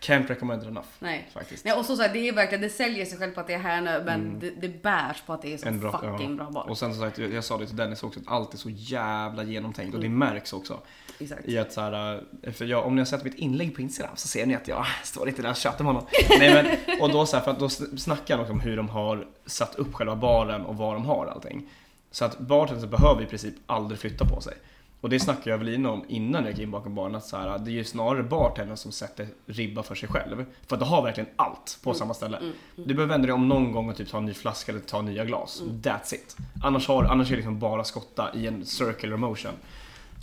Speaker 2: Can't recommend it enough.
Speaker 1: Nej.
Speaker 2: Faktiskt. Mm.
Speaker 1: Nej, och så, så här, det är verkligen, det säljer sig själv på att det är här nu, men det, det bärs på att det är så
Speaker 2: En bra,
Speaker 1: fucking
Speaker 2: ja.
Speaker 1: bra bar.
Speaker 2: Och sen som sagt, jag, jag sa det till Dennis också, att allt är så jävla genomtänkt och
Speaker 1: Mm.
Speaker 2: det märks också.
Speaker 1: Exakt.
Speaker 2: I att så här, eh, för jag, om ni har sett mitt inlägg på Instagram så ser ni att jag står inte där och tjatar med honom. Nej, men, och då, så här, för att då sn- snackar han också om hur de har satt upp själva baren och var de har allting. Så att bartenders behöver i princip aldrig flytta på sig. Och det snackade jag Evelina om innan jag gick in bakom baren, att så här, det är ju snarare bartendern som sätter ribba för sig själv. För att de har verkligen allt
Speaker 1: Mm.
Speaker 2: på samma ställe. Du behöver vända dig om någon gång och typ ta en ny flaska eller ta nya glas.
Speaker 1: Mm.
Speaker 2: That's it. Annars, har, annars är det liksom bara skotta i en circular motion.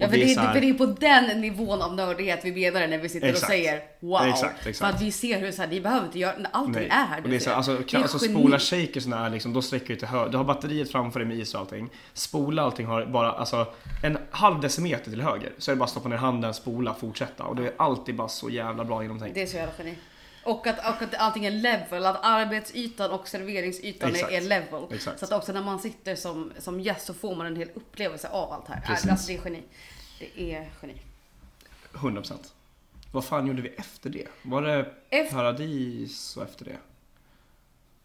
Speaker 1: Ja,
Speaker 2: Och
Speaker 1: för, det,
Speaker 2: så här-
Speaker 1: för det är på den nivån av nördighet vi menar när vi sitter och
Speaker 2: Exakt.
Speaker 1: säger wow.
Speaker 2: Exakt, exakt.
Speaker 1: För att vi ser hur så här, ni behöver inte göra, allting
Speaker 2: Nej.
Speaker 1: är här.
Speaker 2: och det är så,
Speaker 1: ser.
Speaker 2: alltså,
Speaker 1: Det är
Speaker 2: kan, alltså
Speaker 1: geni.
Speaker 2: spola shakersen är liksom, då sträcker du till höger. Du har batteriet framför dig med is och allting. Spola allting har bara alltså, en halv decimeter till höger. Så är det bara att stoppa ner handen, spola, fortsätta. Och det är alltid bara så jävla bra genomtänkt.
Speaker 1: Det är så jävla geni. Och att, och att allting är level, att arbetsytan och serveringsytan är,
Speaker 2: Exakt.
Speaker 1: är level.
Speaker 2: Exakt.
Speaker 1: Så att också när man sitter som, som gäst så får man en hel upplevelse av allt här.
Speaker 2: Precis.
Speaker 1: Alltså det är geni. Det är geni.
Speaker 2: 100%. Vad fan gjorde vi efter det? Var det
Speaker 1: Efter-
Speaker 2: paradis och efter det?
Speaker 1: Mm,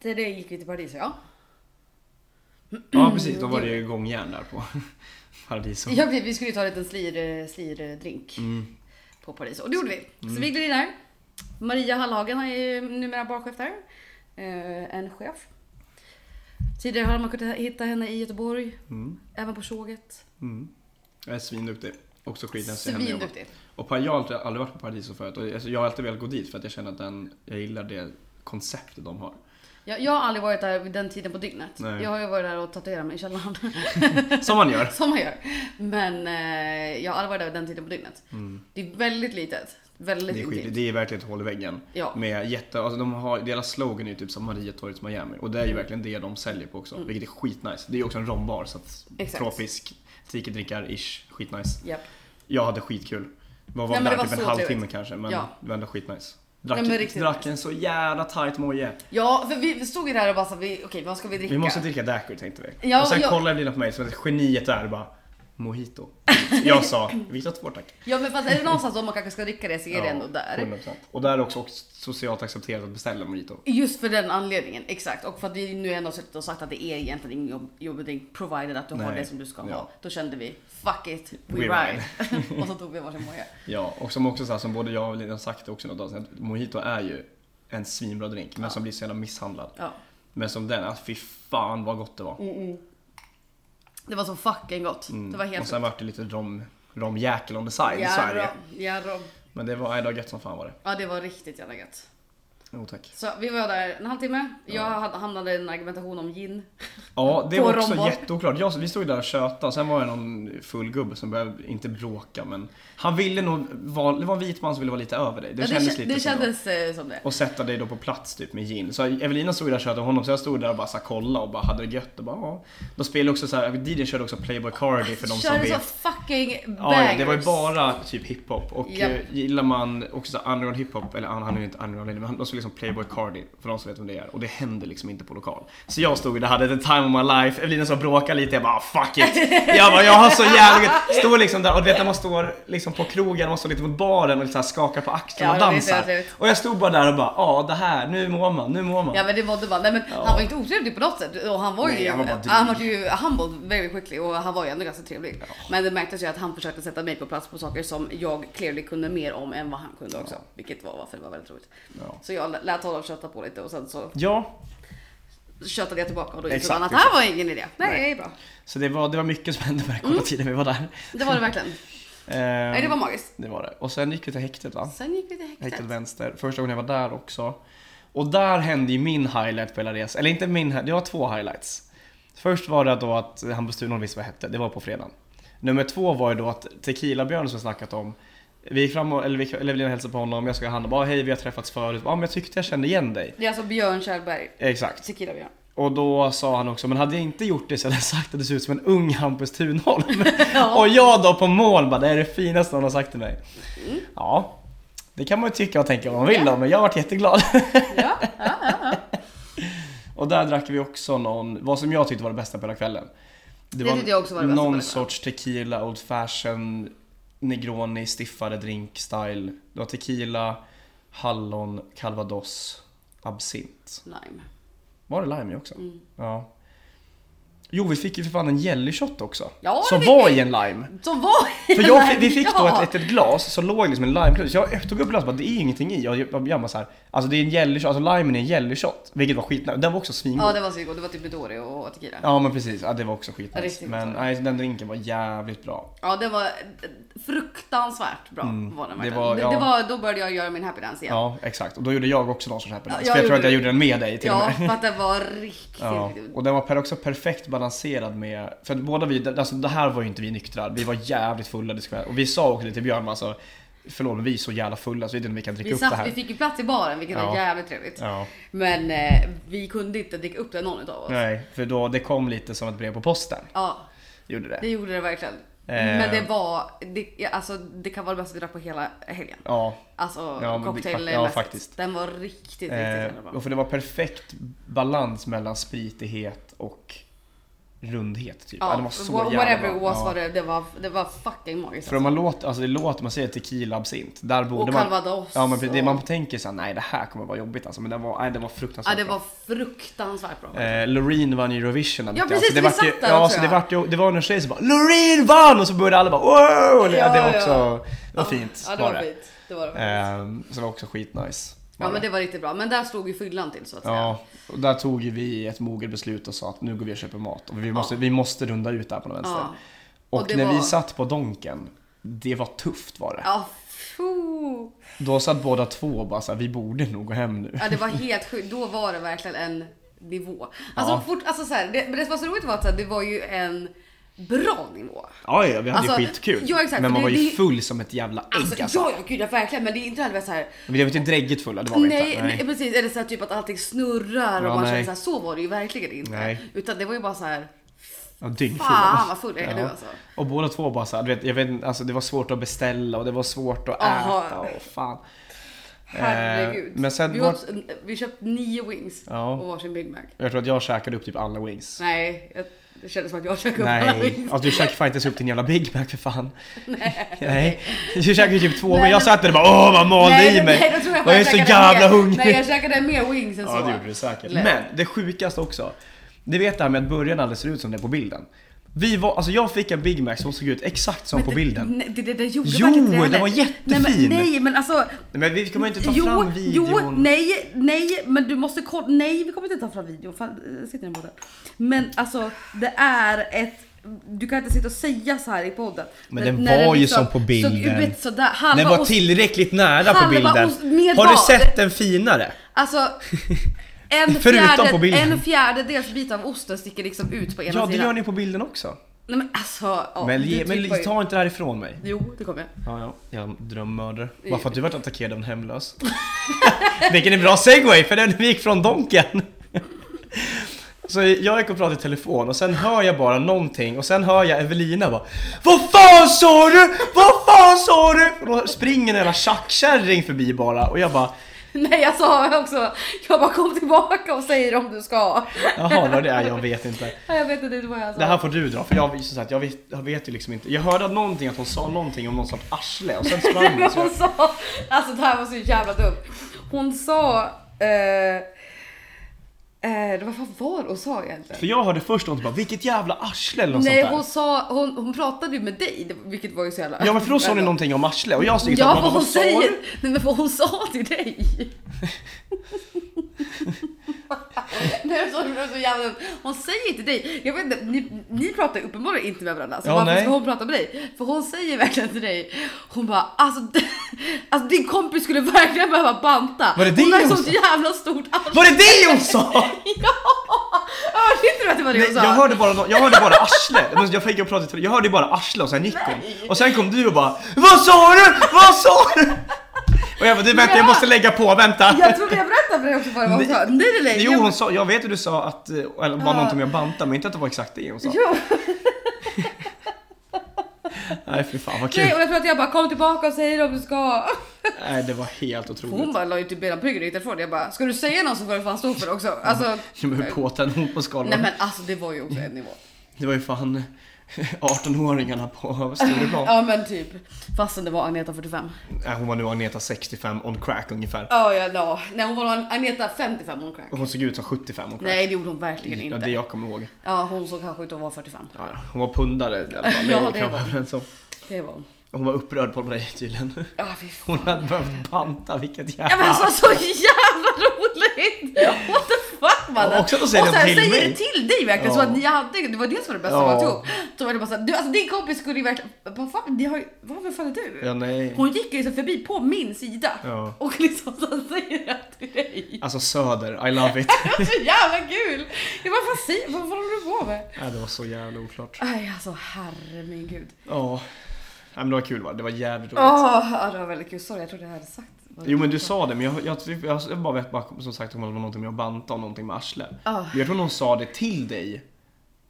Speaker 1: Det det gick vi till Paradis ja.
Speaker 2: Ja precis, då var det ju gångjärn där på paradis. Och...
Speaker 1: ja vi, vi skulle ju ta en liten slir, drink
Speaker 2: Mm.
Speaker 1: på Paris och det gjorde vi. Så vi gled in där. Maria Hallhagen är ju numera barchef där. Eh, en chef. Tidigare hade man kunnat hitta henne i Göteborg,
Speaker 2: Mm.
Speaker 1: även på tjoget.
Speaker 2: Mm. Jag är svinduktig. Också skitnäsig hemma jobbar.
Speaker 1: Svinduktig.
Speaker 2: Och pa- jag har alltid, aldrig varit på Paradiso förut och alltså, jag har alltid velat gå dit för att jag känner att den, jag gillar det konceptet de har.
Speaker 1: Jag, jag har aldrig varit där vid den tiden på dygnet.
Speaker 2: Nej.
Speaker 1: Jag har ju varit där och tatuerat mig i källaren.
Speaker 2: Som man gör.
Speaker 1: Som man gör. Men eh, jag har aldrig varit där vid den tiden på dygnet. Det är väldigt litet. Väldigt
Speaker 2: Mm. Det är, skit,
Speaker 1: intimt.
Speaker 2: det är verkligen ett hål i väggen.
Speaker 1: Ja.
Speaker 2: Med jätte, alltså de har, deras slogan är ju typ som Mariatorget Miami och det är ju verkligen det de säljer på också. Vilket är skitnice. Det är ju också en rombar så att
Speaker 1: Mm. Exakt.
Speaker 2: tropisk, drinkar-ish, skitnice.
Speaker 1: Japp.
Speaker 2: Jag hade skitkul. Vad
Speaker 1: Nej,
Speaker 2: var
Speaker 1: men det
Speaker 2: där
Speaker 1: var
Speaker 2: typ en
Speaker 1: så
Speaker 2: halvtimme
Speaker 1: trevligt.
Speaker 2: kanske men
Speaker 1: Ja.
Speaker 2: det var ändå skitnice. Drack,
Speaker 1: Nej, men riktigt
Speaker 2: drack
Speaker 1: nice.
Speaker 2: en så jävla tight moje.
Speaker 1: Ja, för vi stod ju där och bara så, vi, okej vad ska vi dricka?
Speaker 2: Vi måste dricka daiquiri tänkte vi.
Speaker 1: Ja,
Speaker 2: och sen
Speaker 1: ja.
Speaker 2: kollade Evelina på mig som att geniet där och bara Mojito. Jag sa, vi tar två tack.
Speaker 1: Ja men fast är det någonstans om man kanske ska dricka det så är det
Speaker 2: Ja,
Speaker 1: ändå där.
Speaker 2: 100%. Och där är också också socialt accepterat att beställa mojito.
Speaker 1: Just för den anledningen, exakt. Och för att vi nu ändå suttit och sagt att det är egentligen ingen jobb, jobbig provided att du har
Speaker 2: Nej.
Speaker 1: det som du ska ha.
Speaker 2: Ja.
Speaker 1: Då kände vi, fuck it, we,
Speaker 2: We
Speaker 1: ride. och så tog vi varsin moja.
Speaker 2: Ja, och som också så här, som både jag och Evelina har sagt det också något avsnitt, att mojito är ju en svinbra drink men som blir så jävla misshandlad.
Speaker 1: Ja.
Speaker 2: Men som den, alltså fy fan vad gott det var. Mm.
Speaker 1: Det var så fucking gott. Mm, Det var helt
Speaker 2: och sen vart det lite rom, romjäkel on the side i Sverige.
Speaker 1: Ja, rom.
Speaker 2: Men det var, nej, det var gött som fan var det.
Speaker 1: Ja, det var riktigt jävla gött.
Speaker 2: Jo tack.
Speaker 1: Så vi var där en halvtimme. Jag hade- hamnade i en argumentation om gin.
Speaker 2: Ja, det
Speaker 1: På
Speaker 2: var också
Speaker 1: Romborg.
Speaker 2: jätteoklart. Jag, vi stod där och tjötade, sen var det någon full gubbe som började, inte bråka men han ville nog vara, det var en vit man som ville vara lite över dig. Det
Speaker 1: Ja,
Speaker 2: kändes
Speaker 1: kä-
Speaker 2: lite
Speaker 1: det
Speaker 2: så då.
Speaker 1: kändes eh, som det.
Speaker 2: Och sätta dig då på plats typ med gin. Så Evelina stod där och tjötade om honom så jag stod där och bara så här, kolla och bara hade det gött och bara ja. Då spelade också så här, DJ körde också Playboy Cardi för de som
Speaker 1: Körde så
Speaker 2: vet.
Speaker 1: fucking
Speaker 2: Ja,
Speaker 1: bangers.
Speaker 2: ja, det var ju bara typ hiphop och
Speaker 1: Japp.
Speaker 2: eh, gillar man också så här underground hiphop, eller han han är ju inte underground men han- de spelar liksom Playboy Cardi för de som vet vem det är och det händer liksom inte på lokal. Så jag stod där, hade the time of my life, Evelina så bråkade lite, jag bara "Ah, fuck it. Jag bara jag har så jävla gött. Står liksom där och du vet när man står liksom på krogen, man står lite mot baren och så här skakar på axlarna
Speaker 1: Ja,
Speaker 2: och
Speaker 1: det är så
Speaker 2: dansar.
Speaker 1: trevligt.
Speaker 2: Och jag stod bara där och bara ja det här, nu mår man, nu mår man.
Speaker 1: Ja men det mådde man. Nej, men
Speaker 2: Ja.
Speaker 1: Han var ju inte otrevlig på något sätt. Och han var
Speaker 2: Nej,
Speaker 1: ju,
Speaker 2: han
Speaker 1: han,
Speaker 2: var
Speaker 1: var
Speaker 2: bara dryg.
Speaker 1: ju humbled very quickly och han var ju ändå ganska trevlig. Men det märktes ju att han försökte sätta mig på plats på saker som jag clearly kunde mer om än vad han kunde också. Vilket var varför det var väldigt roligt.
Speaker 2: Ja.
Speaker 1: Så jag lät honom köta på lite och sen så
Speaker 2: Ja,
Speaker 1: köttade jag tillbaka och då insåg
Speaker 2: Exakt,
Speaker 1: han att det
Speaker 2: exakt.
Speaker 1: här var ingen idé. Nej,
Speaker 2: Nej.
Speaker 1: det är bra.
Speaker 2: så det var, det var mycket som hände på den här korta tiden vi var där.
Speaker 1: Det var det verkligen.
Speaker 2: Ehm,
Speaker 1: Nej, Mm. det var magiskt.
Speaker 2: det var det. Och sen gick vi till häktet va?
Speaker 1: Sen gick vi till häktet.
Speaker 2: Häktet Vänster. Första gången jag var där också. Och där hände ju min highlight på hela resan. Eller inte min, hi- det var två highlights. Först var det då att Hampus Thunholm visste vad jag hette, det var på fredagen. Nummer två var ju då att Tequila-Björn som jag snackat om vi gick fram och, eller vi- eller Evelina hälsade på honom, jag ska han och bara hej vi har träffats förut, ja men jag tyckte jag kände igen dig.
Speaker 1: Det är alltså Björn Kjellberg.
Speaker 2: Exakt.
Speaker 1: Tequila Björn.
Speaker 2: Och då sa han också, men hade jag inte gjort det så hade jag sagt att du ser ut som en ung Hampus Thunholm.
Speaker 1: Ja.
Speaker 2: Och jag då på mål bara, det är det finaste någon har sagt till mig.
Speaker 1: Mm.
Speaker 2: Ja, det kan man ju tycka och tänka vad man vill om, men jag varit jätteglad.
Speaker 1: Ja, ja, ja, ja.
Speaker 2: Och där drack vi också någon, vad som jag tyckte var det bästa på hela kvällen.
Speaker 1: Det tyckte jag också var det bästa på
Speaker 2: Någon
Speaker 1: hela kvällen.
Speaker 2: sorts tequila, old fashion, negroni, stiffare drink style. Det var tequila, hallon, calvados, absint.
Speaker 1: Lime.
Speaker 2: Var det lime i också?
Speaker 1: Mm.
Speaker 2: Ja. Jo, vi fick ju för fan en jelly shot också.
Speaker 1: Ja, det
Speaker 2: som
Speaker 1: fick
Speaker 2: var
Speaker 1: vi.
Speaker 2: i en lime.
Speaker 1: Som var
Speaker 2: För jag, fick- vi fick då
Speaker 1: Ja.
Speaker 2: ett litet glas som låg liksom en limeklubb. Så jag tog upp glaset och bara, det är ju ingenting i. Jag, jag, jag bara så här, alltså det är en jelly shot, alltså limen är en jelly shot. Vilket var skitnice. Den var också svingod.
Speaker 1: Ja,
Speaker 2: Ja,
Speaker 1: det var så gott. Det var typ Midori och tequila.
Speaker 2: men precis, ja, det var också skitnice.
Speaker 1: Riktigt
Speaker 2: Men
Speaker 1: gott.
Speaker 2: nej, den drinken var jävligt bra.
Speaker 1: Ja, det var fruktansvärt bra. Var den
Speaker 2: Mm. det
Speaker 1: verkligen.
Speaker 2: var-
Speaker 1: det,
Speaker 2: ja.
Speaker 1: det var, då började jag göra min happy dance igen. Ja,
Speaker 2: Ja, exakt. Och då gjorde jag också någon sorts happy
Speaker 1: Ja,
Speaker 2: dance.
Speaker 1: jag
Speaker 2: För jag tror
Speaker 1: gjorde
Speaker 2: att jag
Speaker 1: det.
Speaker 2: gjorde den med dig till och med.
Speaker 1: för att den var riktigt...
Speaker 2: Ja, och den var per också perfekt balanserad med, för att båda vi, alltså det här var ju inte vi nyktra, vi var jävligt fulla det ska jag- Och vi sa också det till Björn, alltså förlåt men vi är så jävla fulla så vi vet inte om vi kan dricka
Speaker 1: Vi,
Speaker 2: upp det
Speaker 1: satt,
Speaker 2: här.
Speaker 1: vi fick ju plats i baren vilket
Speaker 2: Ja.
Speaker 1: var jävligt trevligt.
Speaker 2: Ja,
Speaker 1: Men eh, vi kunde inte dricka upp det någon utav oss.
Speaker 2: nej, för då, det kom lite som ett brev på posten,
Speaker 1: Ja,
Speaker 2: gjorde det.
Speaker 1: det gjorde det verkligen.
Speaker 2: Eh.
Speaker 1: Men det var, det, alltså, det kan vara det bästa vi drack på hela helgen.
Speaker 2: Ja,
Speaker 1: Alltså
Speaker 2: Ja, men det-
Speaker 1: cocktail
Speaker 2: ja, faktiskt.
Speaker 1: Den var riktigt, riktigt
Speaker 2: eh,
Speaker 1: jävla bra.
Speaker 2: och för det var perfekt balans mellan spritighet och rundhet typ. Ja, det var så
Speaker 1: wha-
Speaker 2: jävla
Speaker 1: whatever
Speaker 2: bra.
Speaker 1: it was
Speaker 2: Ja.
Speaker 1: var det, det var, det var fucking magiskt.
Speaker 2: För om man låter, alltså det låter, man säger tequila absint, där borde
Speaker 1: Och
Speaker 2: man...
Speaker 1: calvados
Speaker 2: Ja men det
Speaker 1: och-
Speaker 2: man tänker såhär, nej det här kommer vara jobbigt alltså, men det var, nej, det var fruktansvärt
Speaker 1: Ja, det
Speaker 2: bra.
Speaker 1: var fruktansvärt bra.
Speaker 2: Eh, Loreen vann ju Eurovision där
Speaker 1: Ja,
Speaker 2: borta.
Speaker 1: precis,
Speaker 2: det
Speaker 1: vi
Speaker 2: vart ju,
Speaker 1: satt där
Speaker 2: Ja,
Speaker 1: också,
Speaker 2: så det
Speaker 1: ja.
Speaker 2: vart ju, det var någon tjej som bara Loreen vann! Och så började alla bara wow! Ja,
Speaker 1: Ja,
Speaker 2: det var
Speaker 1: ja.
Speaker 2: också, det var fint.
Speaker 1: Ja, det var fint. Det var det.
Speaker 2: Ehm, så det var också skitnice.
Speaker 1: Ja men det var riktigt bra. Men där slog ju fyllan till så att säga.
Speaker 2: Ja, och där tog ju vi ett moget beslut och sa att nu går vi och köper mat. Och vi måste, vi måste runda ut det här på något vänster.
Speaker 1: Ja.
Speaker 2: Och,
Speaker 1: Och det
Speaker 2: när vi
Speaker 1: var-
Speaker 2: satt på Donken, det var tufft var det.
Speaker 1: Ja, foo.
Speaker 2: Då satt båda två och bara såhär, vi borde nog gå hem nu.
Speaker 1: ja det var helt sjukt. Då var det verkligen en nivå. Alltså, fort, alltså så här, det, men det som var så roligt var att så här, det var ju en bra nivå.
Speaker 2: Ja, ja, vi hade ju
Speaker 1: Alltså,
Speaker 2: skitkul.
Speaker 1: ja, exakt,
Speaker 2: men
Speaker 1: för det-
Speaker 2: man var ju
Speaker 1: det-
Speaker 2: full som ett jävla ägg
Speaker 1: Alltså,
Speaker 2: alltså.
Speaker 1: Ja, ja gud ja, verkligen. Men det är inte heller så här.
Speaker 2: Vi var inte dräggigt fulla, det var vi
Speaker 1: Nej,
Speaker 2: inte.
Speaker 1: nej precis. Eller så här, typ att allting snurrar
Speaker 2: Ja,
Speaker 1: och man
Speaker 2: nej.
Speaker 1: känner så här. Så var det ju verkligen inte.
Speaker 2: Nej.
Speaker 1: Utan det var ju bara så här.
Speaker 2: Ja, dyngfulla.
Speaker 1: Fan vad full jag är nu alltså.
Speaker 2: Och båda två bara såhär, du vet, jag vet inte, alltså det var svårt att beställa och det var svårt att
Speaker 1: Aha.
Speaker 2: äta och fan.
Speaker 1: Herregud.
Speaker 2: Eh, men sen
Speaker 1: vi,
Speaker 2: var-
Speaker 1: åt, vi köpte nio wings
Speaker 2: Ja.
Speaker 1: och varsin Big Mac.
Speaker 2: Jag tror att jag käkade upp typ alla wings.
Speaker 1: Nej, jag, det kändes som att jag käkade upp alla
Speaker 2: Nej,
Speaker 1: wings.
Speaker 2: alltså du käkade fan inte ens upp din jävla Big Mac för fan.
Speaker 1: Nej.
Speaker 2: Nej, du käkade ju typ två,
Speaker 1: Nej,
Speaker 2: men jag
Speaker 1: men-
Speaker 2: satt där och bara åh vad malde i mig.
Speaker 1: nej, då tror jag,
Speaker 2: jag är
Speaker 1: fan
Speaker 2: så
Speaker 1: käkade
Speaker 2: jävla
Speaker 1: mer.
Speaker 2: hungrig.
Speaker 1: Nej, jag käkade mer wings än så.
Speaker 2: Ja det gjorde du säkert.
Speaker 1: Lätt.
Speaker 2: Men det sjukaste också. Ni vet det här med att början aldrig ser ut som det är på bilden. Vi var, alltså jag fick en Big Mac som såg ut exakt som på bilden.
Speaker 1: Nej, det, det, det gjorde
Speaker 2: Jo,
Speaker 1: verkligen inte
Speaker 2: den
Speaker 1: heller.
Speaker 2: var
Speaker 1: Nej,
Speaker 2: jättefin.
Speaker 1: men, nej, men alltså.
Speaker 2: Nej, men vi kommer inte ta
Speaker 1: jo,
Speaker 2: fram
Speaker 1: jo,
Speaker 2: videon.
Speaker 1: nej, nej, men du måste kolla. Nej, vi kommer inte ta fram videon. Fan, eh, sitter den på den? Men alltså, det är ett Du kan inte sitta och säga så här i podden. liksom
Speaker 3: Men den var ju som på
Speaker 1: Såg
Speaker 3: bilden.
Speaker 1: ut sådär, halva
Speaker 3: Den var
Speaker 1: ost-
Speaker 3: tillräckligt nära på
Speaker 1: Halva
Speaker 3: bilden.
Speaker 1: ost- med
Speaker 3: Har du
Speaker 1: vad?
Speaker 3: sett en finare?
Speaker 1: Alltså, en,
Speaker 3: Förutom på
Speaker 1: fjärde,
Speaker 3: bilden.
Speaker 1: en fjärdedels bit av osten sticker liksom ut på ena
Speaker 2: Ja, det
Speaker 1: sidan.
Speaker 2: gör ni på bilden också.
Speaker 1: Nej men alltså, ja,
Speaker 2: men
Speaker 1: du
Speaker 2: ge,
Speaker 1: tippar
Speaker 2: men
Speaker 1: ju.
Speaker 2: ta inte det här ifrån mig.
Speaker 1: Jo, det kommer jag.
Speaker 2: Ja, ja. Jag drömmördare. Bara för att du varit attackerad av en hemlös. Vilken är bra segway för den vi gick från donken. Så jag gick och pratade i telefon och sen hör jag bara någonting och sen hör jag Evelina bara Vad fan sa du? Vad fan sa du? Och då springer en jävla tjackkärring förbi bara och jag bara
Speaker 1: Nej jag sa också, jag bara kom tillbaka och säger om du ska.
Speaker 2: Jaha, vad det är jag vet inte.
Speaker 1: Ja, Jag vet inte vad jag sa.
Speaker 2: Det här får du dra för jag, som sagt, jag, vet, jag vet ju liksom inte. Jag hörde att någonting att hon sa någonting om någon sorts arsle och sen sprang
Speaker 1: Nej,
Speaker 2: hon.
Speaker 1: men
Speaker 2: så jag-
Speaker 1: hon sa, alltså det här var så jävla dumt. Hon sa, eh, eh, vad fan var det hon sa egentligen?
Speaker 2: För jag hörde först någonting bara vilket jävla arsle eller något
Speaker 1: Nej
Speaker 2: sånt där.
Speaker 1: hon sa, hon, hon pratade ju med dig, det- vilket var ju så jävla...
Speaker 2: Ja men för då sa ni någonting om arsle och jag stod
Speaker 1: Ja, vad
Speaker 2: vad
Speaker 1: hon
Speaker 2: sa du?"
Speaker 1: säger. Nej, men vad hon sa till dig. Nej, så, så jävla, dumt. hon säger till dig. Jag vet inte, ni, ni pratar uppenbarligen inte med varandra. Så
Speaker 2: Ja,
Speaker 1: varför
Speaker 2: nej.
Speaker 1: ska hon prata med dig? För hon säger verkligen till dig. Hon bara, alltså, d- alltså din kompis skulle verkligen behöva banta.
Speaker 2: Var det
Speaker 1: hon
Speaker 2: det
Speaker 1: har ju
Speaker 2: hon
Speaker 1: sånt
Speaker 2: sa?
Speaker 1: jävla stort arsle.
Speaker 2: Var det det hon sa?
Speaker 1: Ja! Hörde inte du att det var det
Speaker 2: Nej,
Speaker 1: hon sa?
Speaker 2: jag hörde bara, no- jag hörde bara arsle. Men Jag fick ju prata i tele- jag hörde bara arsle och sen gick hon. Och sen kom du och bara Vad sa du? Vad sa du? Och jag bara du vänta jag måste lägga på, vänta.
Speaker 1: Jag trodde jag berättade för dig också vad det var hon
Speaker 2: Nej.
Speaker 1: sa. Nej, nej, nej.
Speaker 2: Jo
Speaker 1: Jag-
Speaker 2: hon sa, jag vet hur du sa att, eh, eller bara
Speaker 1: Ja.
Speaker 2: någonting med att banta men inte att det var exakt det hon sa.
Speaker 1: Jo.
Speaker 2: Nej fy fan vad kul.
Speaker 1: Nej, och jag tror att jag bara kom tillbaka och säger om du ska.
Speaker 2: Nej det var helt otroligt.
Speaker 1: Hon bara la ju typ benen på ryggen och gick därifrån. Jag bara, ska du säga något så får du fan stå för det också. Alltså,
Speaker 2: Ja, men Hur påtänd hon på skalan?
Speaker 1: nej men alltså det var ju också en nivå.
Speaker 2: Det var ju fan 18-åringarna på Stureplan.
Speaker 1: Ja men typ. Fastän det var Agneta 45.
Speaker 2: Nej, Hon var nu Agneta 65 on crack ungefär.
Speaker 1: Ja ja ja. Nej hon var Agneta 55 hon crack.
Speaker 2: Och Hon såg ut som 75 och
Speaker 1: Nej det gjorde hon verkligen
Speaker 2: Ja, det
Speaker 1: inte.
Speaker 2: jag kommer ihåg.
Speaker 1: Ja hon såg kanske ut att vara 45.
Speaker 2: Ja, ja. hon var pundare i alla fall.
Speaker 1: Ja,
Speaker 2: det
Speaker 1: det
Speaker 2: kan
Speaker 1: var
Speaker 2: vara överens om.
Speaker 1: Det var hon.
Speaker 2: Hon var upprörd på dig tydligen.
Speaker 1: Ja fy fan.
Speaker 2: Hon hade behövt banta, vilket
Speaker 1: Ja
Speaker 2: jävla...
Speaker 1: men alltså så jävla roligt! What the fuck mannen!
Speaker 2: Och också att säga
Speaker 1: och
Speaker 2: det
Speaker 1: sen
Speaker 2: till
Speaker 1: säger
Speaker 2: mig.
Speaker 1: det till dig verkligen så
Speaker 2: Ja.
Speaker 1: att ni hade, det var det som var det bästa
Speaker 2: Ja.
Speaker 1: man tog. Så var det bara såhär, du alltså din kompis skulle ju verkligen, vad fan, ni har ju, vad vem fan är du?
Speaker 2: Ja, nej.
Speaker 1: Hon gick ju liksom förbi på min sida
Speaker 2: Ja.
Speaker 1: och liksom så säger jag till dig.
Speaker 2: Alltså Söder, I love it.
Speaker 1: Det var så jävla kul! Jag bara, vad, säger, vad, vad håller du på med?
Speaker 2: Nej, det var så jävla oklart.
Speaker 1: Aj alltså herre min gud.
Speaker 2: Ja. Nej, men det var kul va? Det var jävligt roligt.
Speaker 1: Åh, ja, det var väldigt kul. Sorry jag trodde jag hade sagt. vad det
Speaker 2: Jo men
Speaker 1: var.
Speaker 2: du sa det, men jag, jag, jag, jag, bara vet bara som sagt om det var någonting med att banta och någonting med arsle.
Speaker 1: Ja.
Speaker 2: Men jag tror hon sa det till dig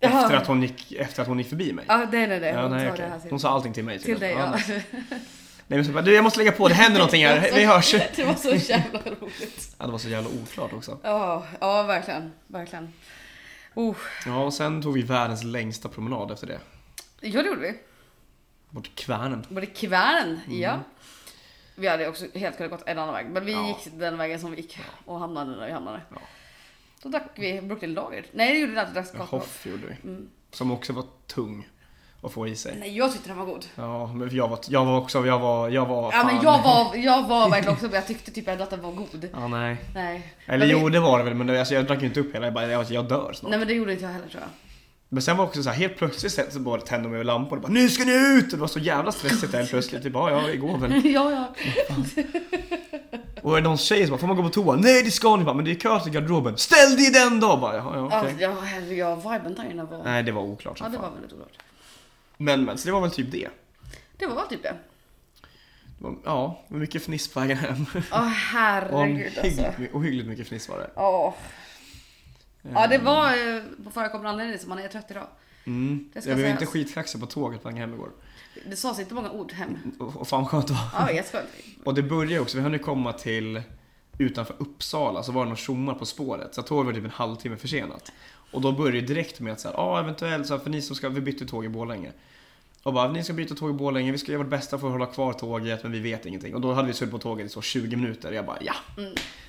Speaker 1: Jaha.
Speaker 2: efter att, hon gick, efter att hon gick förbi mig.
Speaker 1: Ja nej nej nej, hon
Speaker 2: nej,
Speaker 1: sa
Speaker 2: okej.
Speaker 1: det här till,
Speaker 2: hon sa allting till mig.
Speaker 1: till dig
Speaker 2: tydligen.
Speaker 1: ja.
Speaker 2: nej. Nej men så bara, du jag måste lägga på, det händer någonting här, vi hörs.
Speaker 1: Det var så jävla roligt.
Speaker 2: Ja, det var så jävla oklart också.
Speaker 1: Ja, ja verkligen, verkligen. Oh,
Speaker 2: Ja, och sen tog vi världens längsta promenad efter det.
Speaker 1: ja det gjorde vi.
Speaker 2: Bort kvärnen.
Speaker 1: Både kvärn,
Speaker 2: Mm.
Speaker 1: ja. Vi hade också helt kunnat gått en annan väg, men vi
Speaker 2: Ja.
Speaker 1: gick den vägen som vi gick och hamnade där vi hamnade.
Speaker 2: Ja.
Speaker 1: Då drack vi Brooklyn Lager. Nej det gjorde vi inte, vi drack
Speaker 2: Ja,
Speaker 1: kakao.
Speaker 2: Hoff gjorde vi.
Speaker 1: Mm.
Speaker 2: Som också var tung att få i sig.
Speaker 1: Nej jag tyckte den var god.
Speaker 2: Ja, men jag var, jag var också, jag var, jag var
Speaker 1: Ja men jag var, jag var verkligen också, men jag tyckte typ ändå att den var god.
Speaker 2: Ja, nej.
Speaker 1: Nej.
Speaker 2: Eller
Speaker 1: Men vi-
Speaker 2: jo, det var det väl, men det, alltså, jag drack ju inte upp hela, jag bara, jag, jag dör snart.
Speaker 1: Nej men det gjorde inte jag heller tror jag.
Speaker 2: Men sen var det också så här, helt plötsligt så- så bara tände de över lampor och bara Nu ska ni ut! Det var så jävla stressigt där helt plötsligt. Typ, ja, ja, vi går väl.
Speaker 1: ja ja.
Speaker 2: Och är det någon tjej som bara, får man gå på toa? Nej det ska ni bara, men det är kö till garderoben. Ställ dig i den då! Bara, ja, ja, okej.
Speaker 1: Okay. Ja, herregud, ja, viben där inne var...
Speaker 2: Nej det var oklart
Speaker 1: Ja
Speaker 2: som
Speaker 1: det var
Speaker 2: fan.
Speaker 1: väldigt oklart.
Speaker 2: Men men, så det var väl typ det.
Speaker 1: Det var väl typ det.
Speaker 2: det var, ja, det var mycket fniss på vägen hem.
Speaker 1: Åh herregud alltså.
Speaker 2: Ohyggligt, my- ohyggligt mycket fniss var det.
Speaker 1: Ja. Ja
Speaker 2: Ehm.
Speaker 1: det var eh, på förekommande anledning som man är trött idag.
Speaker 2: Mm.
Speaker 1: Det ska
Speaker 2: jag blev
Speaker 1: sägas.
Speaker 2: inte skitkaxig på tåget på vägen hem igår.
Speaker 1: Det sades inte många ord hem.
Speaker 2: Och, och fan vad skönt det var.
Speaker 1: Ja jätteskönt.
Speaker 2: Och det började också, vi hann ju komma till utanför Uppsala så var det någon tjommar på spåret så tåget var typ en halvtimme försenat. Och då började det direkt med att säga, ja eventuellt så här, för ni som ska, vi bytte tåg i Borlänge. Och bara, ni ska byta tåg i Borlänge, vi ska göra vårt bästa för att hålla kvar tåget men vi vet ingenting. Och då hade vi suttit på tåget i så 20 minuter och jag bara, ja.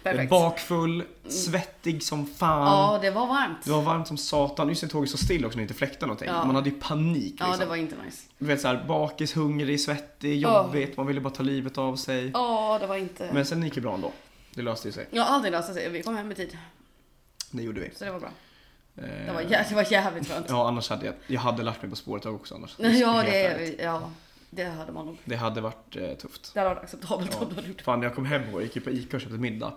Speaker 1: Perfekt.
Speaker 2: Bakfull, svettig som fan.
Speaker 1: Ja det var varmt.
Speaker 2: Det var varmt som satan, just det tåget så still också när det inte fläktade någonting.
Speaker 1: Ja.
Speaker 2: Man hade ju panik liksom.
Speaker 1: Ja det var inte nice.
Speaker 2: Du vet såhär, bakis, hungrig, svettig, jobbigt, man ville bara ta livet av sig.
Speaker 1: Ja det var inte...
Speaker 2: Men sen gick det bra ändå. Det löste ju sig.
Speaker 1: Ja allting löste sig. Vi kom hem i tid.
Speaker 2: Det gjorde vi.
Speaker 1: Så det var bra.
Speaker 2: Eh,
Speaker 1: Det var, jä- det var jävligt skönt.
Speaker 2: Ja, annars hade jag, jag hade lagt mig på spåret också annars.
Speaker 1: Ja,
Speaker 2: Helt ärligt.
Speaker 1: det, ja, det hade man nog.
Speaker 2: det hade varit eh, tufft.
Speaker 1: Det hade varit acceptabelt om du hade
Speaker 2: Ja.
Speaker 1: gjort.
Speaker 2: Fan, när jag kom hem igår, jag gick ju på Ica och köpte middag.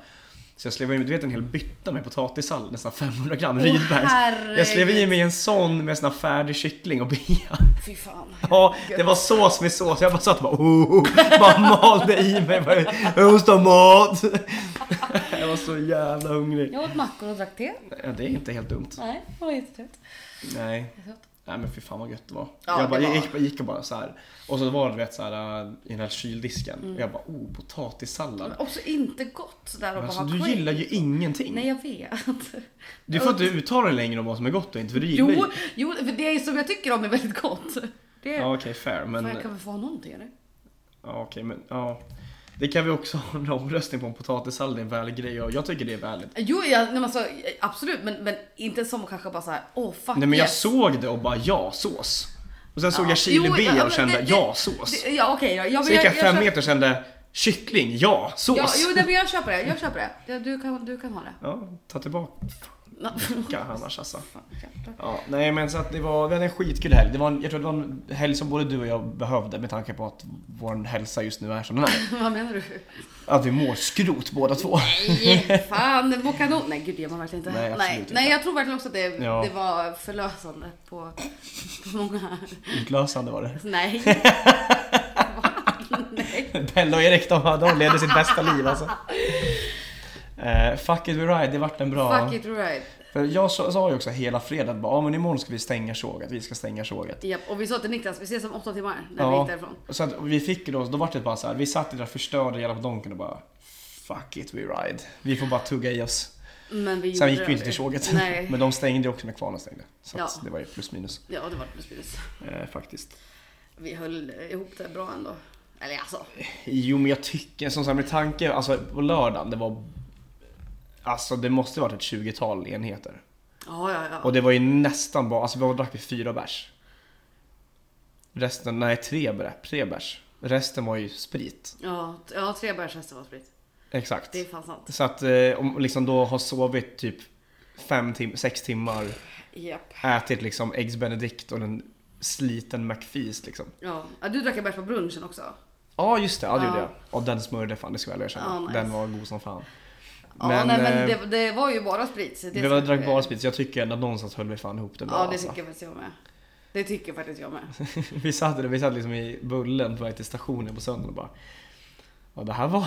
Speaker 2: Så jag slev i mig, du vet en hel bytta med potatissallad, nästan 500 gram Rydbergs.
Speaker 1: herregud.
Speaker 2: Jag slev i mig en sån med sån här färdig kyckling och bea.
Speaker 1: Fy fan.
Speaker 2: Ja, det var sås med sås. Jag bara satt och bara, oh, oh, bara malde i mig. Bara, Jag måste ha mat. Jag var så jävla hungrig.
Speaker 1: Jag åt mackor och drack te.
Speaker 2: Ja, det är inte helt dumt.
Speaker 1: Nej, det var jättetrevligt.
Speaker 2: Nej.
Speaker 1: Jättetrevligt.
Speaker 2: Nej men fy fan vad gött det var.
Speaker 1: Ja,
Speaker 2: jag, bara,
Speaker 1: det var-
Speaker 2: jag gick, jag gick och bara så här. Och så var det du vet så här äh, i den här kyldisken.
Speaker 1: Mm.
Speaker 2: Och jag bara oh potatissallad.
Speaker 1: Men också inte gott sådär och
Speaker 2: Men
Speaker 1: bara
Speaker 2: alltså,
Speaker 1: ha
Speaker 2: du
Speaker 1: skit.
Speaker 2: gillar ju ingenting.
Speaker 1: Nej, jag vet.
Speaker 2: Du får inte uttala dig längre om vad som är gott och inte för du gillar
Speaker 1: Jo,
Speaker 2: ju.
Speaker 1: jo, för det som jag tycker om är väldigt gott. Det
Speaker 2: Ja okej fair men.
Speaker 1: Fan, jag
Speaker 2: Ja
Speaker 1: kan väl få ha någonting eller?
Speaker 2: okej men ja. Det kan vi också ha en omröstning på om potatissallad är en väl grej och jag tycker det är väldigt.
Speaker 1: Jo, ja, nej, men alltså, absolut, men, men inte som kanske bara såhär, åh fuck
Speaker 2: Nej men jag
Speaker 1: yes.
Speaker 2: såg det och bara ja sås. Och sen såg
Speaker 1: Ja.
Speaker 2: jag chili
Speaker 1: Jo,
Speaker 2: bea
Speaker 1: ja,
Speaker 2: och
Speaker 1: men
Speaker 2: kände
Speaker 1: det- det-
Speaker 2: ja sås.
Speaker 1: Det- Ja okej, ja, ja, men
Speaker 2: Så gick jag
Speaker 1: jag
Speaker 2: fem
Speaker 1: köper-
Speaker 2: meter och kände kyckling ja sås.
Speaker 1: Ja, jo, nej, men jag köper det, jag köper det. Ja, Du kan, du kan ha det.
Speaker 2: Ja, ta tillbaka
Speaker 1: Nå,
Speaker 2: annars alltså.
Speaker 1: fan, jävlar.
Speaker 2: Ja, nej men så att det var, vi hade en skitkul helg. Det var en, jag tror det var en helg som både du och jag behövde med tanke på att vår hälsa just nu är som den är.
Speaker 1: Vad menar du?
Speaker 2: Att vi mår skrot båda två.
Speaker 1: Nej, fan, det var kanon. Nej gud, det gör man verkligen inte.
Speaker 2: Nej, absolut
Speaker 1: nej,
Speaker 2: inte.
Speaker 1: nej, jag tror verkligen också att det,
Speaker 2: Ja.
Speaker 1: det var förlösande på, på många...
Speaker 2: Utlösande var det.
Speaker 1: Nej. nej.
Speaker 2: Bella och Erik de, de levde sitt bästa liv alltså. Eh, fuck it we ride, det vart en bra...
Speaker 1: Fuck it right.
Speaker 2: För jag sa sa ju också hela fredagen bara, ah, men imorgon ska vi stänga såget, vi ska stänga såget.
Speaker 1: Japp, och vi sa till Niklas, vi ses om åtta timmar när vi
Speaker 2: Ja,
Speaker 1: gick därifrån.
Speaker 2: så att vi fick ju då, då vart det bara så här, vi satt i det där förstörda jävla donken och bara Fuck it we ride. Vi får bara tugga i oss.
Speaker 1: Men vi
Speaker 2: Sen
Speaker 1: gjorde
Speaker 2: gick vi
Speaker 1: det
Speaker 2: inte till
Speaker 1: aldrig.
Speaker 2: tåget.
Speaker 1: Nej.
Speaker 2: Men de stängde ju också när kvarnen stängde. Så att
Speaker 1: Ja.
Speaker 2: det var ju plus minus
Speaker 1: Ja, det var plus minus.
Speaker 2: eh, faktiskt.
Speaker 1: Vi höll ihop det bra ändå. Eller alltså,
Speaker 2: Jo men jag tycker, som sagt med tanke, alltså på lördagen det var Alltså det måste varit ett 20-tal enheter.
Speaker 1: ja ja ja.
Speaker 2: Och det var ju nästan bara, alltså vi drack vi fyra bärs. Resten, nej tre, bär- tre bärs. Resten var ju sprit.
Speaker 1: Ja, t- ja tre bärshästar var sprit.
Speaker 2: Exakt.
Speaker 1: Det är fan sant.
Speaker 2: Så att eh, om liksom då har sovit typ fem tim- sex timmar,
Speaker 1: Japp.
Speaker 2: ätit liksom Eggs Benedict och en sliten McFeast liksom.
Speaker 1: Ja. ja, du drack en bärs på brunchen också.
Speaker 2: Ja just det, ja, det gjorde
Speaker 1: Ja.
Speaker 2: jag. Och den smörjde fan, det ska jag erkänna.
Speaker 1: Ja, nice.
Speaker 2: Den var god som fan.
Speaker 1: Ja, men, nej, men
Speaker 2: eh,
Speaker 1: det, det var ju bara sprit. så det
Speaker 2: vi var
Speaker 1: som-
Speaker 2: drack bara sprit så jag tycker ändå att någonstans höll vi fan ihop det bra.
Speaker 1: Ja, det
Speaker 2: alltså.
Speaker 1: tycker faktiskt jag med. Det tycker faktiskt jag med.
Speaker 2: vi, satt, där, vi satt liksom i bullen på väg till stationen på söndagen och bara Ja det här var,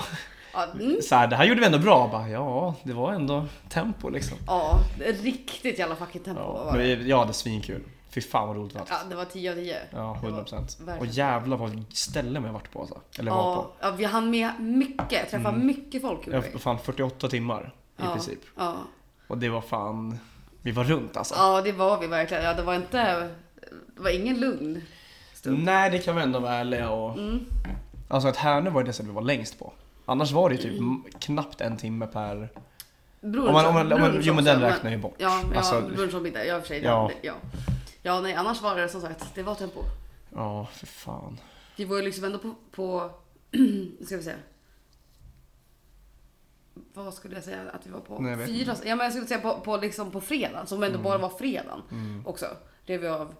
Speaker 1: Ja, mm.
Speaker 2: så här, det här gjorde vi ändå bra. Bara, ja det var ändå tempo liksom.
Speaker 1: ja riktigt jävla fucking tempo
Speaker 2: Ja,
Speaker 1: var
Speaker 2: men
Speaker 1: det.
Speaker 2: vi, jag hade svinkul. Fy fan vad roligt det var.
Speaker 1: Ja, det var 10 av 10.
Speaker 2: Ja, 100 procent.
Speaker 1: Det var
Speaker 2: Och
Speaker 1: verkligen-
Speaker 2: jävlar vad ställen jag varit på alltså. Eller var på.
Speaker 1: Ja, ja, vi hann med mycket, träffa mycket folk. gjorde
Speaker 2: Jag
Speaker 1: vi.
Speaker 2: var fan 48 timmar i
Speaker 1: ja,
Speaker 2: princip.
Speaker 1: Ja.
Speaker 2: Och det var fan, vi var runt alltså.
Speaker 1: ja, det var vi verkligen. Ja, det var inte, det var ingen lugn. stund.
Speaker 2: Nej, det kan vi ändå vara ärliga och...
Speaker 1: Mm.
Speaker 2: Alltså att Härnö var ju det som vi var längst på. Annars var det ju typ
Speaker 1: Mm.
Speaker 2: m- knappt en timme per...
Speaker 1: Brunch,
Speaker 2: Om man- om man- om man-
Speaker 1: brunch
Speaker 2: jo, men den
Speaker 1: också,
Speaker 2: räknar ju bort.
Speaker 1: Ja, ja
Speaker 2: Alltså-
Speaker 1: brunch och middag. Ja, i och för sig.
Speaker 2: Ja.
Speaker 1: Ja. Ja. ja, nej, annars var det som sagt, det var tempo.
Speaker 2: Ja, för fan.
Speaker 1: Vi var ju liksom ändå på, på nu ska vi se. Vad skulle jag säga att vi var på?
Speaker 2: Nej, jag vet Mm.
Speaker 1: Fyra, ja, men jag skulle säga på, på, liksom på fredag, som ändå bara var fredagen också. Rev vi av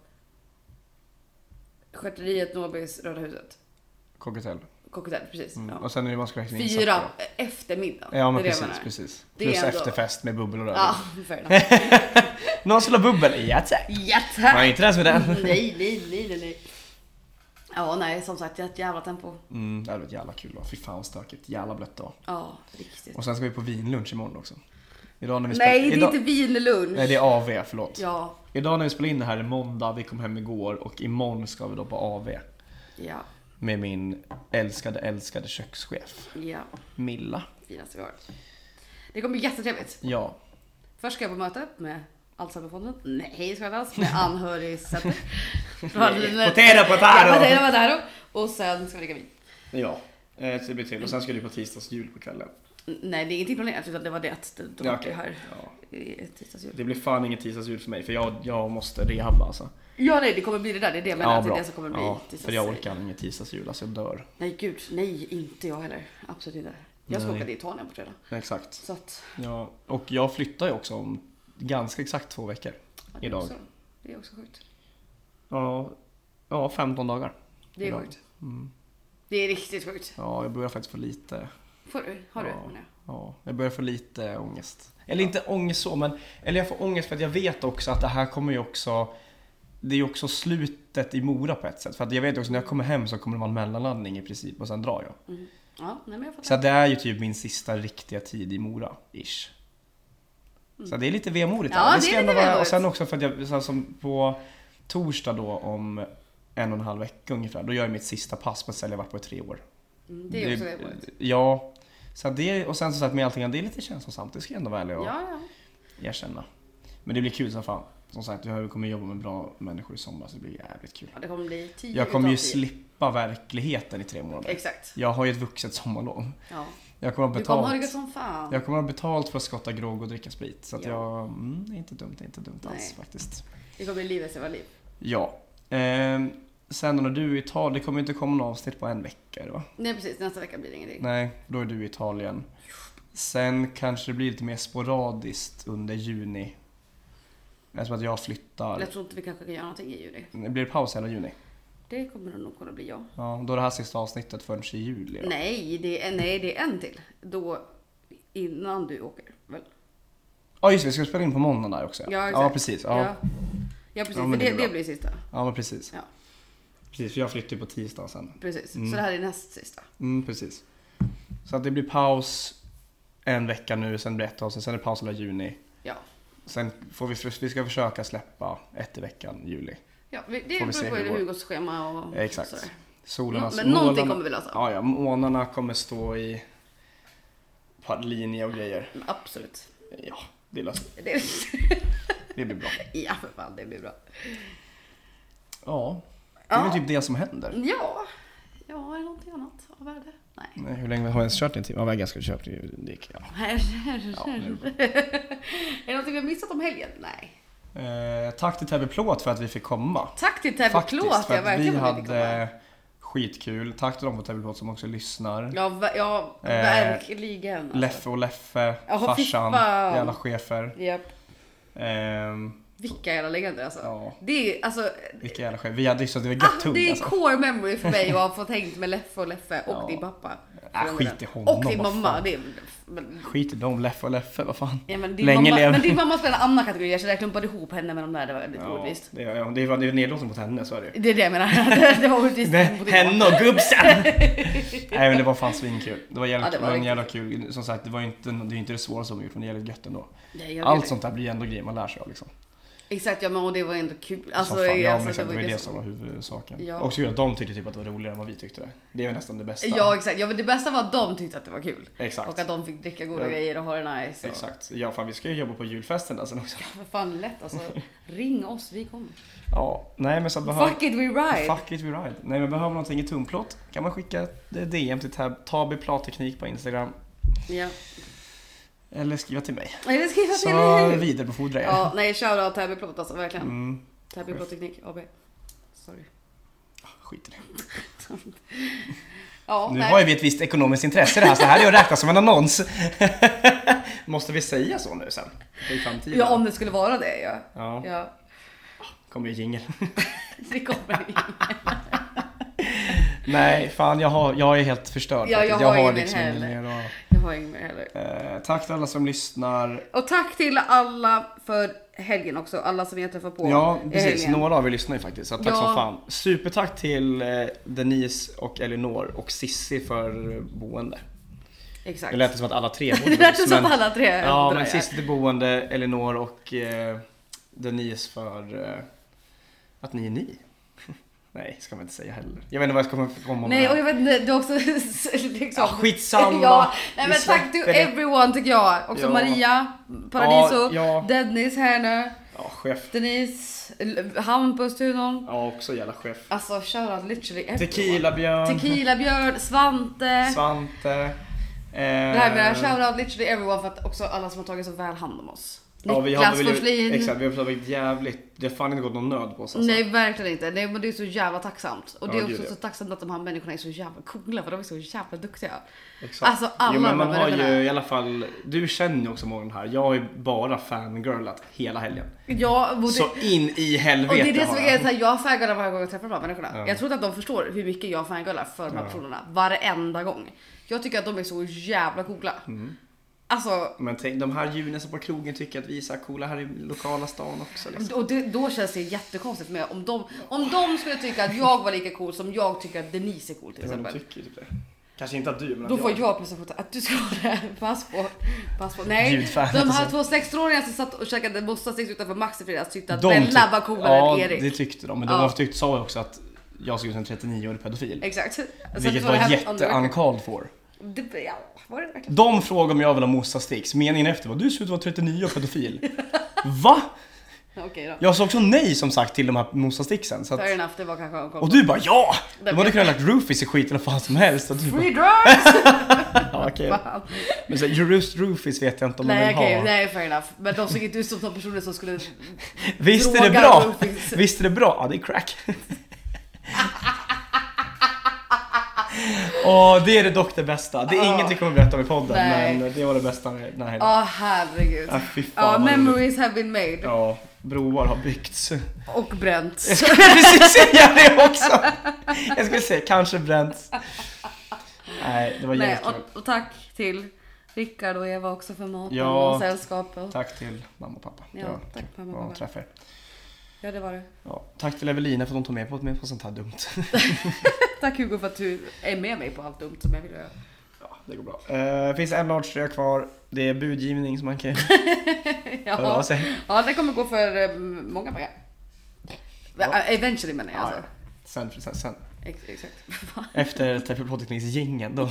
Speaker 1: Sköteriet, Nobis, Röda huset,
Speaker 2: Cockatell.
Speaker 1: Cockatell, precis.
Speaker 2: Mm.
Speaker 1: Ja.
Speaker 2: Och sen är det man ska räkna in
Speaker 1: Fyra
Speaker 2: saker.
Speaker 1: eftermiddag.
Speaker 2: Ja, men
Speaker 1: det är det jag
Speaker 2: precis,
Speaker 1: menar.
Speaker 2: precis.
Speaker 1: Det är
Speaker 2: Plus
Speaker 1: ändå-
Speaker 2: efterfest med bubbel och rödvin.
Speaker 1: Ja, fair enough.
Speaker 2: Någon skulle ha bubbel? Ja, tack.
Speaker 1: Ja, tack.
Speaker 2: Nej, inte den med den.
Speaker 1: nej, nej, nej, nej, nej. Ja, nej, som sagt, det är ett jävla tempo.
Speaker 2: Mm, det hade varit jävla kul då. Fy fan vad stökigt. Jävla blött då.
Speaker 1: Ja, riktigt.
Speaker 2: Och sen ska vi på vinlunch imorgon också. Idag när vi
Speaker 1: Nej,
Speaker 2: spelar...
Speaker 1: det är
Speaker 2: idag...
Speaker 1: inte vinlunch.
Speaker 2: Nej, det är AV, förlåt.
Speaker 1: Ja,
Speaker 2: Idag när vi spelar in det här är måndag, vi kom hem igår och imorgon ska vi då på AV
Speaker 1: ja,
Speaker 2: med min älskade, älskade kökschef
Speaker 1: ja.
Speaker 2: Milla.
Speaker 1: Finaste vi har. Det kommer bli jättetrevligt.
Speaker 2: Ja,
Speaker 1: Först ska jag på möte med Alzheimerfonden. Nej, ska jag alls. Med anhörigcenter. Potera,
Speaker 2: potero.
Speaker 1: Potera, potero. Och sen ska vi dricka vin.
Speaker 2: ja. eh, så Det blir till. Och sen ska du på tisdags jul på kvällen.
Speaker 1: N- Nej, det är ingenting planerat utan det var det att de de
Speaker 2: Ja,
Speaker 1: var
Speaker 2: okej.
Speaker 1: här
Speaker 2: Ja.
Speaker 1: i tisdagsjul.
Speaker 2: Det blir fan ingen tisdags jul för mig för jag, jag måste rehabba alltså.
Speaker 1: Ja, nej, det kommer bli det där. Det är det jag menar. att det är det som kommer bli
Speaker 2: ja, för jag
Speaker 1: tisdagsjul.
Speaker 2: orkar ingen tisdags jul, alltså jag dör.
Speaker 1: Nej, gud. Nej, inte jag heller. Absolut inte. Jag ska
Speaker 2: Nej.
Speaker 1: åka till Italien på fredag.
Speaker 2: Exakt.
Speaker 1: Så att,
Speaker 2: Ja, och jag flyttar ju också om ganska exakt två veckor.
Speaker 1: Det är
Speaker 2: Idag.
Speaker 1: också- Det är också sjukt.
Speaker 2: Ja, ja 15 dagar.
Speaker 1: Det är
Speaker 2: Idag.
Speaker 1: sjukt. Det är riktigt sjukt.
Speaker 2: Ja, jag börjar faktiskt få lite...
Speaker 1: Får du? Har du?
Speaker 2: Ja.
Speaker 1: menar jag?
Speaker 2: Ja, jag börjar få lite ångest. Eller inte ångest så, men... Eller jag får ångest för att jag vet också att det här kommer ju också... Det är ju också slutet i Mora på ett sätt. För att jag vet också när jag kommer hem så kommer det vara en mellanlandning i princip och sen drar jag.
Speaker 1: Ja, nej men jag
Speaker 2: Så
Speaker 1: fattar.
Speaker 2: att det är ju typ min sista riktiga tid i Mora, ish. Så det är lite vemodigt.
Speaker 1: Mm. Ja,
Speaker 2: här.
Speaker 1: det är lite
Speaker 2: Och
Speaker 1: vemodigt.
Speaker 2: sen också för att jag, så här, som på torsdag då om en och en halv vecka ungefär, då gör jag mitt sista pass på ett ställe jag varit på i tre år.
Speaker 1: Mm, det är också det året.
Speaker 2: Ja. Så att det, och sen som sagt med allting, det är lite känslosamt, det ska jag ändå vara ärlig och
Speaker 1: Ja, ja.
Speaker 2: erkänna. Men det blir kul som fan. Som sagt, jag kommer jobba med bra människor i sommar så det blir jävligt kul.
Speaker 1: ja. Det kommer bli 10
Speaker 2: Jag kommer ju
Speaker 1: utav 10.
Speaker 2: slippa verkligheten i tre månader.
Speaker 1: Exakt.
Speaker 2: Jag har ju ett vuxet sommarlov.
Speaker 1: Ja.
Speaker 2: Jag kommer att
Speaker 1: Du kommer ha det
Speaker 2: betala.
Speaker 1: gött som fan.
Speaker 2: Jag kommer att ha betalt för att skotta grogg och dricka sprit. Så att
Speaker 1: Ja.
Speaker 2: jag, mm, det är inte dumt, det är inte dumt alls
Speaker 1: Nej.
Speaker 2: faktiskt.
Speaker 1: Det kommer bli livets jävla liv.
Speaker 2: Ja. Ehm, sen när du är i Italien, det kommer ju inte komma något avsnitt på en vecka är det va?
Speaker 1: Nej precis, nästa vecka blir det ingenting.
Speaker 2: Nej, då är du i Italien. Sen kanske det blir lite mer sporadiskt under juni. Eftersom att jag flyttar.
Speaker 1: Jag tror inte vi kanske kan göra någonting i juli.
Speaker 2: Blir det paus hela juni?
Speaker 1: Det kommer det nog kunna bli jag.
Speaker 2: Ja, då är det här sista avsnittet förrän i juli då.
Speaker 1: Nej det, är, nej, det är en till. Då innan du åker väl?
Speaker 2: Ja just det, vi ska spela in på måndag där också.
Speaker 1: Ja,
Speaker 2: ja
Speaker 1: exakt.
Speaker 2: precis. Ja. Ja.
Speaker 1: ja. Ja, precis.
Speaker 2: Ja, men
Speaker 1: för
Speaker 2: det är
Speaker 1: det,
Speaker 2: bra.
Speaker 1: det blir sista.
Speaker 2: men precis.
Speaker 1: Ja.
Speaker 2: Precis, för jag flyttar ju på tisdag sen.
Speaker 1: Precis. Så det här är näst sista.
Speaker 2: Mm, precis. Så att det blir paus en vecka nu, sen blir det ett avsnitt, sen är det paus hela juni.
Speaker 1: Ja.
Speaker 2: Sen får vi, vi ska försöka släppa ett i veckan, juli.
Speaker 1: ja vi- det
Speaker 2: Får vi se
Speaker 1: beror på
Speaker 2: hur det går.
Speaker 1: Hugos schema och
Speaker 2: Eh, Exakt.
Speaker 1: sådär.
Speaker 2: Solen,
Speaker 1: Nå-
Speaker 2: alltså,
Speaker 1: men någonting
Speaker 2: målarna-
Speaker 1: kommer vi lösa.
Speaker 2: Ja, ja, månarna kommer stå i på linje och grejer.
Speaker 1: Men Absolut.
Speaker 2: Ja, det löser vi.
Speaker 1: Det,
Speaker 2: Det blir bra.
Speaker 1: ja för fan, det blir bra.
Speaker 2: Ja, det är väl
Speaker 1: Ja.
Speaker 2: typ det som händer.
Speaker 1: Ja. Ja, är det någonting annat av värde? Nej.
Speaker 2: Nej, hur länge har jag ens kört en timme? Ja, vägen ska vi köra. Det det gick, ja. Ja, det är bra.
Speaker 1: Är det någonting vi har missat om helgen? Nej.
Speaker 2: eh, tack till Täby Plåt för att vi fick komma.
Speaker 1: Tack till Täby
Speaker 2: Faktiskt,
Speaker 1: Klå att
Speaker 2: för
Speaker 1: jag
Speaker 2: att vi
Speaker 1: verkligen fick komma.
Speaker 2: hade skitkul. Tack till dem på Täby Plåt som också lyssnar.
Speaker 1: Ja, ver- ja
Speaker 2: Eh,
Speaker 1: verkligen. alltså.
Speaker 2: Leffe och Leffe,
Speaker 1: Ja, fy
Speaker 2: farsan,
Speaker 1: fan.
Speaker 2: jävla chefer.
Speaker 1: Japp.
Speaker 2: Ehm,
Speaker 1: Vilka jävla legender alltså.
Speaker 2: Ja.
Speaker 1: Det är alltså...
Speaker 2: vilka jävla chefer. Vi hade ju så att det var
Speaker 1: Ah,
Speaker 2: göttung
Speaker 1: det är
Speaker 2: alltså.
Speaker 1: core memory för mig att ha fått hängt med Leffe och Leffe och
Speaker 2: Ja.
Speaker 1: din pappa.
Speaker 2: Äh, skit i honom,
Speaker 1: Och din
Speaker 2: vad
Speaker 1: mamma.
Speaker 2: fan.
Speaker 1: Det är, men,
Speaker 2: Skit i dem, Leffe och Leffe, vad fan.
Speaker 1: ja, men, din
Speaker 2: Länge
Speaker 1: mamma
Speaker 2: lev.
Speaker 1: men din mamma spelar en annan kategori, så jag klumpade ihop henne med de där. Det var lite
Speaker 2: Ja,
Speaker 1: orättvist.
Speaker 2: det, ja, det var det är nedlåtande mot henne, så är det ju.
Speaker 1: Det är det jag menar. det var orättvist.
Speaker 2: Det,
Speaker 1: mot din
Speaker 2: henne och gubbsen! Nej men det var fan svinkul. Det var jävligt,
Speaker 1: Ja, det
Speaker 2: det
Speaker 1: var
Speaker 2: var en
Speaker 1: riktigt
Speaker 2: jävla kul. Som sagt, det var ju inte, det är ju inte det svåraste de gjort, men det är jävligt gött ändå.
Speaker 1: Nej, jag
Speaker 2: Allt
Speaker 1: vet.
Speaker 2: sånt där blir ju ändå grejer man lär sig av liksom.
Speaker 1: Exakt, ja men och det var ändå kul.
Speaker 2: Alltså,
Speaker 1: Alltså,
Speaker 2: som fan, ja, men
Speaker 1: alltså,
Speaker 2: exakt, det var ju det
Speaker 1: så-
Speaker 2: som var huvudsaken.
Speaker 1: Ja.
Speaker 2: Också kul att de tyckte typ att det var roligare än vad vi tyckte det. Det är väl nästan det bästa.
Speaker 1: Ja exakt, ja, men det bästa var att de tyckte att det var kul.
Speaker 2: Exakt.
Speaker 1: Och att de fick dricka goda
Speaker 2: Ja.
Speaker 1: grejer och ha det nice. Och...
Speaker 2: Exakt. Ja fan vi ska ju jobba på julfesten där sen också.
Speaker 1: För fan lätt alltså. Ring oss, vi kommer.
Speaker 2: Ja, nej men så att behöver...
Speaker 1: Fuck it we ride!
Speaker 2: Fuck it we ride. Nej men behöver någonting i tumplåt kan man skicka ett DM till Tab- Tabi Platteknik på Instagram.
Speaker 1: Ja.
Speaker 2: Eller skriva till mig.
Speaker 1: Nej det ska jag
Speaker 2: Så
Speaker 1: till dig.
Speaker 2: vidarebefordrar jag.
Speaker 1: Ja, nej shoutout Täby Plåt alltså, verkligen.
Speaker 2: Mm,
Speaker 1: Täby Plåt Teknik AB. Sorry.
Speaker 2: Ah, skit i det.
Speaker 1: Ja,
Speaker 2: Nu
Speaker 1: nej.
Speaker 2: har ju vi ett visst ekonomiskt intresse i det här så det här är ju att räkna som en annons. Måste vi säga så nu sen? I framtiden?
Speaker 1: Ja om det skulle vara det ja.
Speaker 2: Ja,
Speaker 1: ja.
Speaker 2: kommer ju jingel.
Speaker 1: Det kommer ingen.
Speaker 2: Nej, fan jag, har, jag är helt förstörd
Speaker 1: Ja,
Speaker 2: faktiskt. liksom
Speaker 1: jag har ingen
Speaker 2: ingen
Speaker 1: heller.
Speaker 2: mer
Speaker 1: Jag har inget mer heller.
Speaker 2: att- eh, Tack till alla som lyssnar.
Speaker 1: Och tack till alla för helgen också. Alla som jag träffar på
Speaker 2: Ja,
Speaker 1: i
Speaker 2: precis.
Speaker 1: helgen.
Speaker 2: Några av er lyssnar ju faktiskt, så tack
Speaker 1: Ja.
Speaker 2: som fan. Supertack till eh, Denise och Elinor och Sissi för boende.
Speaker 1: Exakt.
Speaker 2: Det lät som att alla tre bodde
Speaker 1: Det lät
Speaker 2: hos,
Speaker 1: som alla tre
Speaker 2: Ja,
Speaker 1: drar,
Speaker 2: men
Speaker 1: ja.
Speaker 2: Sissi till boende, Elinor och eh, Denise för eh, att ni är ni. Nej, ska man inte säga heller. Jag vet inte vad jag ska komma- komma med.
Speaker 1: Nej, och
Speaker 2: här.
Speaker 1: jag vet inte, du också liksom...
Speaker 2: ah, skitsamma!
Speaker 1: Ja, nej,
Speaker 2: Vi
Speaker 1: men tack
Speaker 2: släpper
Speaker 1: to
Speaker 2: det.
Speaker 1: everyone tycker jag. Också
Speaker 2: Ja.
Speaker 1: Maria, Paradiso,
Speaker 2: ja.
Speaker 1: Dennis här nu,
Speaker 2: Ja, chef.
Speaker 1: Denise, L- Hampus Tunon.
Speaker 2: Ja, också jävla chef.
Speaker 1: Alltså shoutout literally everyone.
Speaker 2: Tequila Björn,
Speaker 1: Tequila Björn, Svante.
Speaker 2: Svante. Eh,
Speaker 1: Det här med shoutout literally everyone för att också alla som har tagit så väl hand om oss.
Speaker 2: Ja, vi
Speaker 1: Niklas
Speaker 2: hade
Speaker 1: Forslin.
Speaker 2: väl, exakt, vi har blivit jävligt... Det har fan inte gått någon nöd på oss alltså.
Speaker 1: Nej, verkligen inte. Nej, men det är så jävla tacksamt. Och det är
Speaker 2: Ja,
Speaker 1: också
Speaker 2: gud, ja.
Speaker 1: så tacksamt att de här människorna är så jävla coola för de är så jävla duktiga.
Speaker 2: Exakt.
Speaker 1: Alltså, alla
Speaker 2: jo, men man
Speaker 1: de
Speaker 2: har
Speaker 1: människorna.
Speaker 2: ju i alla fall... Du känner ju också många av de här. Jag har ju bara fangirlat hela helgen.
Speaker 1: Ja, och det,
Speaker 2: Så in i
Speaker 1: och
Speaker 2: helvete
Speaker 1: det är det
Speaker 2: har
Speaker 1: som är
Speaker 2: jag.
Speaker 1: grejen. så här, Jag fangirlar varje gång jag träffar de här människorna.
Speaker 2: Ja.
Speaker 1: Jag tror inte att de förstår hur mycket jag fangirlar för de här
Speaker 2: Ja.
Speaker 1: personerna. Varenda gång. Jag tycker att de är så jävla coola.
Speaker 2: Mm.
Speaker 1: Alltså,
Speaker 2: Men tänk, de här djuren som på krogen tycker att vi är så här coola här i lokala stan också. Liksom.
Speaker 1: och det, då känns det jättekonstigt för mig om de, om de skulle tycka att jag var lika cool som jag tycker att Denise är cool till
Speaker 2: Ja, men de
Speaker 1: exempel.
Speaker 2: tycker typ det. Kanske inte att du, men
Speaker 1: Då
Speaker 2: att
Speaker 1: får jag presentation att du ska vara där. Pass på. Pass på. Nej,
Speaker 2: Ljudfan,
Speaker 1: de här
Speaker 2: alltså.
Speaker 1: två 16-åringarna som satt och käkade mossasticks utanför Max i fredags tyckte att
Speaker 2: De
Speaker 1: Bella
Speaker 2: tyck-
Speaker 1: var coolare
Speaker 2: ja,
Speaker 1: än Erik.
Speaker 2: det tyckte de. Men
Speaker 1: Ja.
Speaker 2: de tyckte, sa ju också att jag såg ut som en 39-årig pedofil.
Speaker 1: Exakt. Så att det
Speaker 2: Vilket
Speaker 1: det
Speaker 2: var
Speaker 1: här- om det verkligen-
Speaker 2: jätte-uncalled for.
Speaker 1: Det- Ja, var det verkligen?
Speaker 2: De frågade om jag ville ha mossasticks. Meningen efter var du ser ut att vara 39 och pedofil. Va?
Speaker 1: Okej då.
Speaker 2: Jag sa också nej som sagt till de här mossasticksen. Så att,
Speaker 1: Fair enough, det var kanske
Speaker 2: och
Speaker 1: uncalled.
Speaker 2: du bara ja!
Speaker 1: Nej,
Speaker 2: De hade
Speaker 1: men-
Speaker 2: kunnat lagt roofies i skiten vad fan som helst. Och du bara,
Speaker 1: Free
Speaker 2: Äh!
Speaker 1: drugs!
Speaker 2: ja, okej.
Speaker 1: Fan.
Speaker 2: Men så, här, just roofies vet jag inte om de
Speaker 1: nej,
Speaker 2: vill
Speaker 1: okej,
Speaker 2: ha.
Speaker 1: nej fair enough. Men de såg inte ut som de personer som skulle...
Speaker 2: Visst är det
Speaker 1: Drogar,
Speaker 2: bra?
Speaker 1: roofies.
Speaker 2: Visst är det bra? Ja, det är crack. Åh, det är det dock det bästa. Det är
Speaker 1: Ja.
Speaker 2: inget vi kommer berätta om i podden,
Speaker 1: Nej.
Speaker 2: men det var det bästa med den här helgen.
Speaker 1: Ja, herregud.
Speaker 2: Ah, fy fan,
Speaker 1: Ja,
Speaker 2: vad roligt.
Speaker 1: memories have been made.
Speaker 2: Ja, broar har byggts.
Speaker 1: Och bränt.
Speaker 2: Jag skulle precis säga det också! Jag skulle säga kanske bränts. Nej, det var
Speaker 1: Nej,
Speaker 2: jävligt kul.
Speaker 1: och, och tack till Rickard och Eva också för maten
Speaker 2: Ja.
Speaker 1: och sällskapet.
Speaker 2: Tack till mamma och pappa.
Speaker 1: Ja,
Speaker 2: Det var
Speaker 1: tack,
Speaker 2: kul
Speaker 1: mamma och
Speaker 2: att
Speaker 1: pappa.
Speaker 2: träffa er.
Speaker 1: Ja, det var det.
Speaker 2: Ja, tack till Evelina för att hon tog med på mig på sånt här dumt.
Speaker 1: Tack Hugo för att du är med mig på allt dumt som jag vill göra.
Speaker 2: Ja, det går bra. Eh, finns en large kvar. Det är budgivning som man kan höra av
Speaker 1: Ja,
Speaker 2: sig.
Speaker 1: ja det kommer gå för eh, många pengar. eh,
Speaker 2: Ja.
Speaker 1: Eventually menar jag
Speaker 2: Ja,
Speaker 1: alltså.
Speaker 2: Sen, sen, sen.
Speaker 1: Ex- Exakt.
Speaker 2: Efter terapeutpåteckningsgängen, då,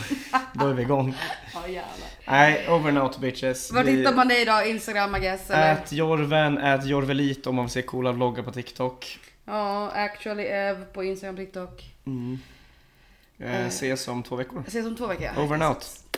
Speaker 2: då är vi igång.
Speaker 1: Ja jävlar.
Speaker 2: Nej, over and out bitches.
Speaker 1: Vart
Speaker 2: Vi-
Speaker 1: hittar man dig idag? Instagram I guess eller?
Speaker 2: Ät Jorven, ät Jorvelit om man vill se coola vloggar på TikTok.
Speaker 1: Ja, actually Ev på Instagram, TikTok.
Speaker 2: Mm. Eh, ses om två veckor.
Speaker 1: Ses om två veckor.
Speaker 2: Over and out.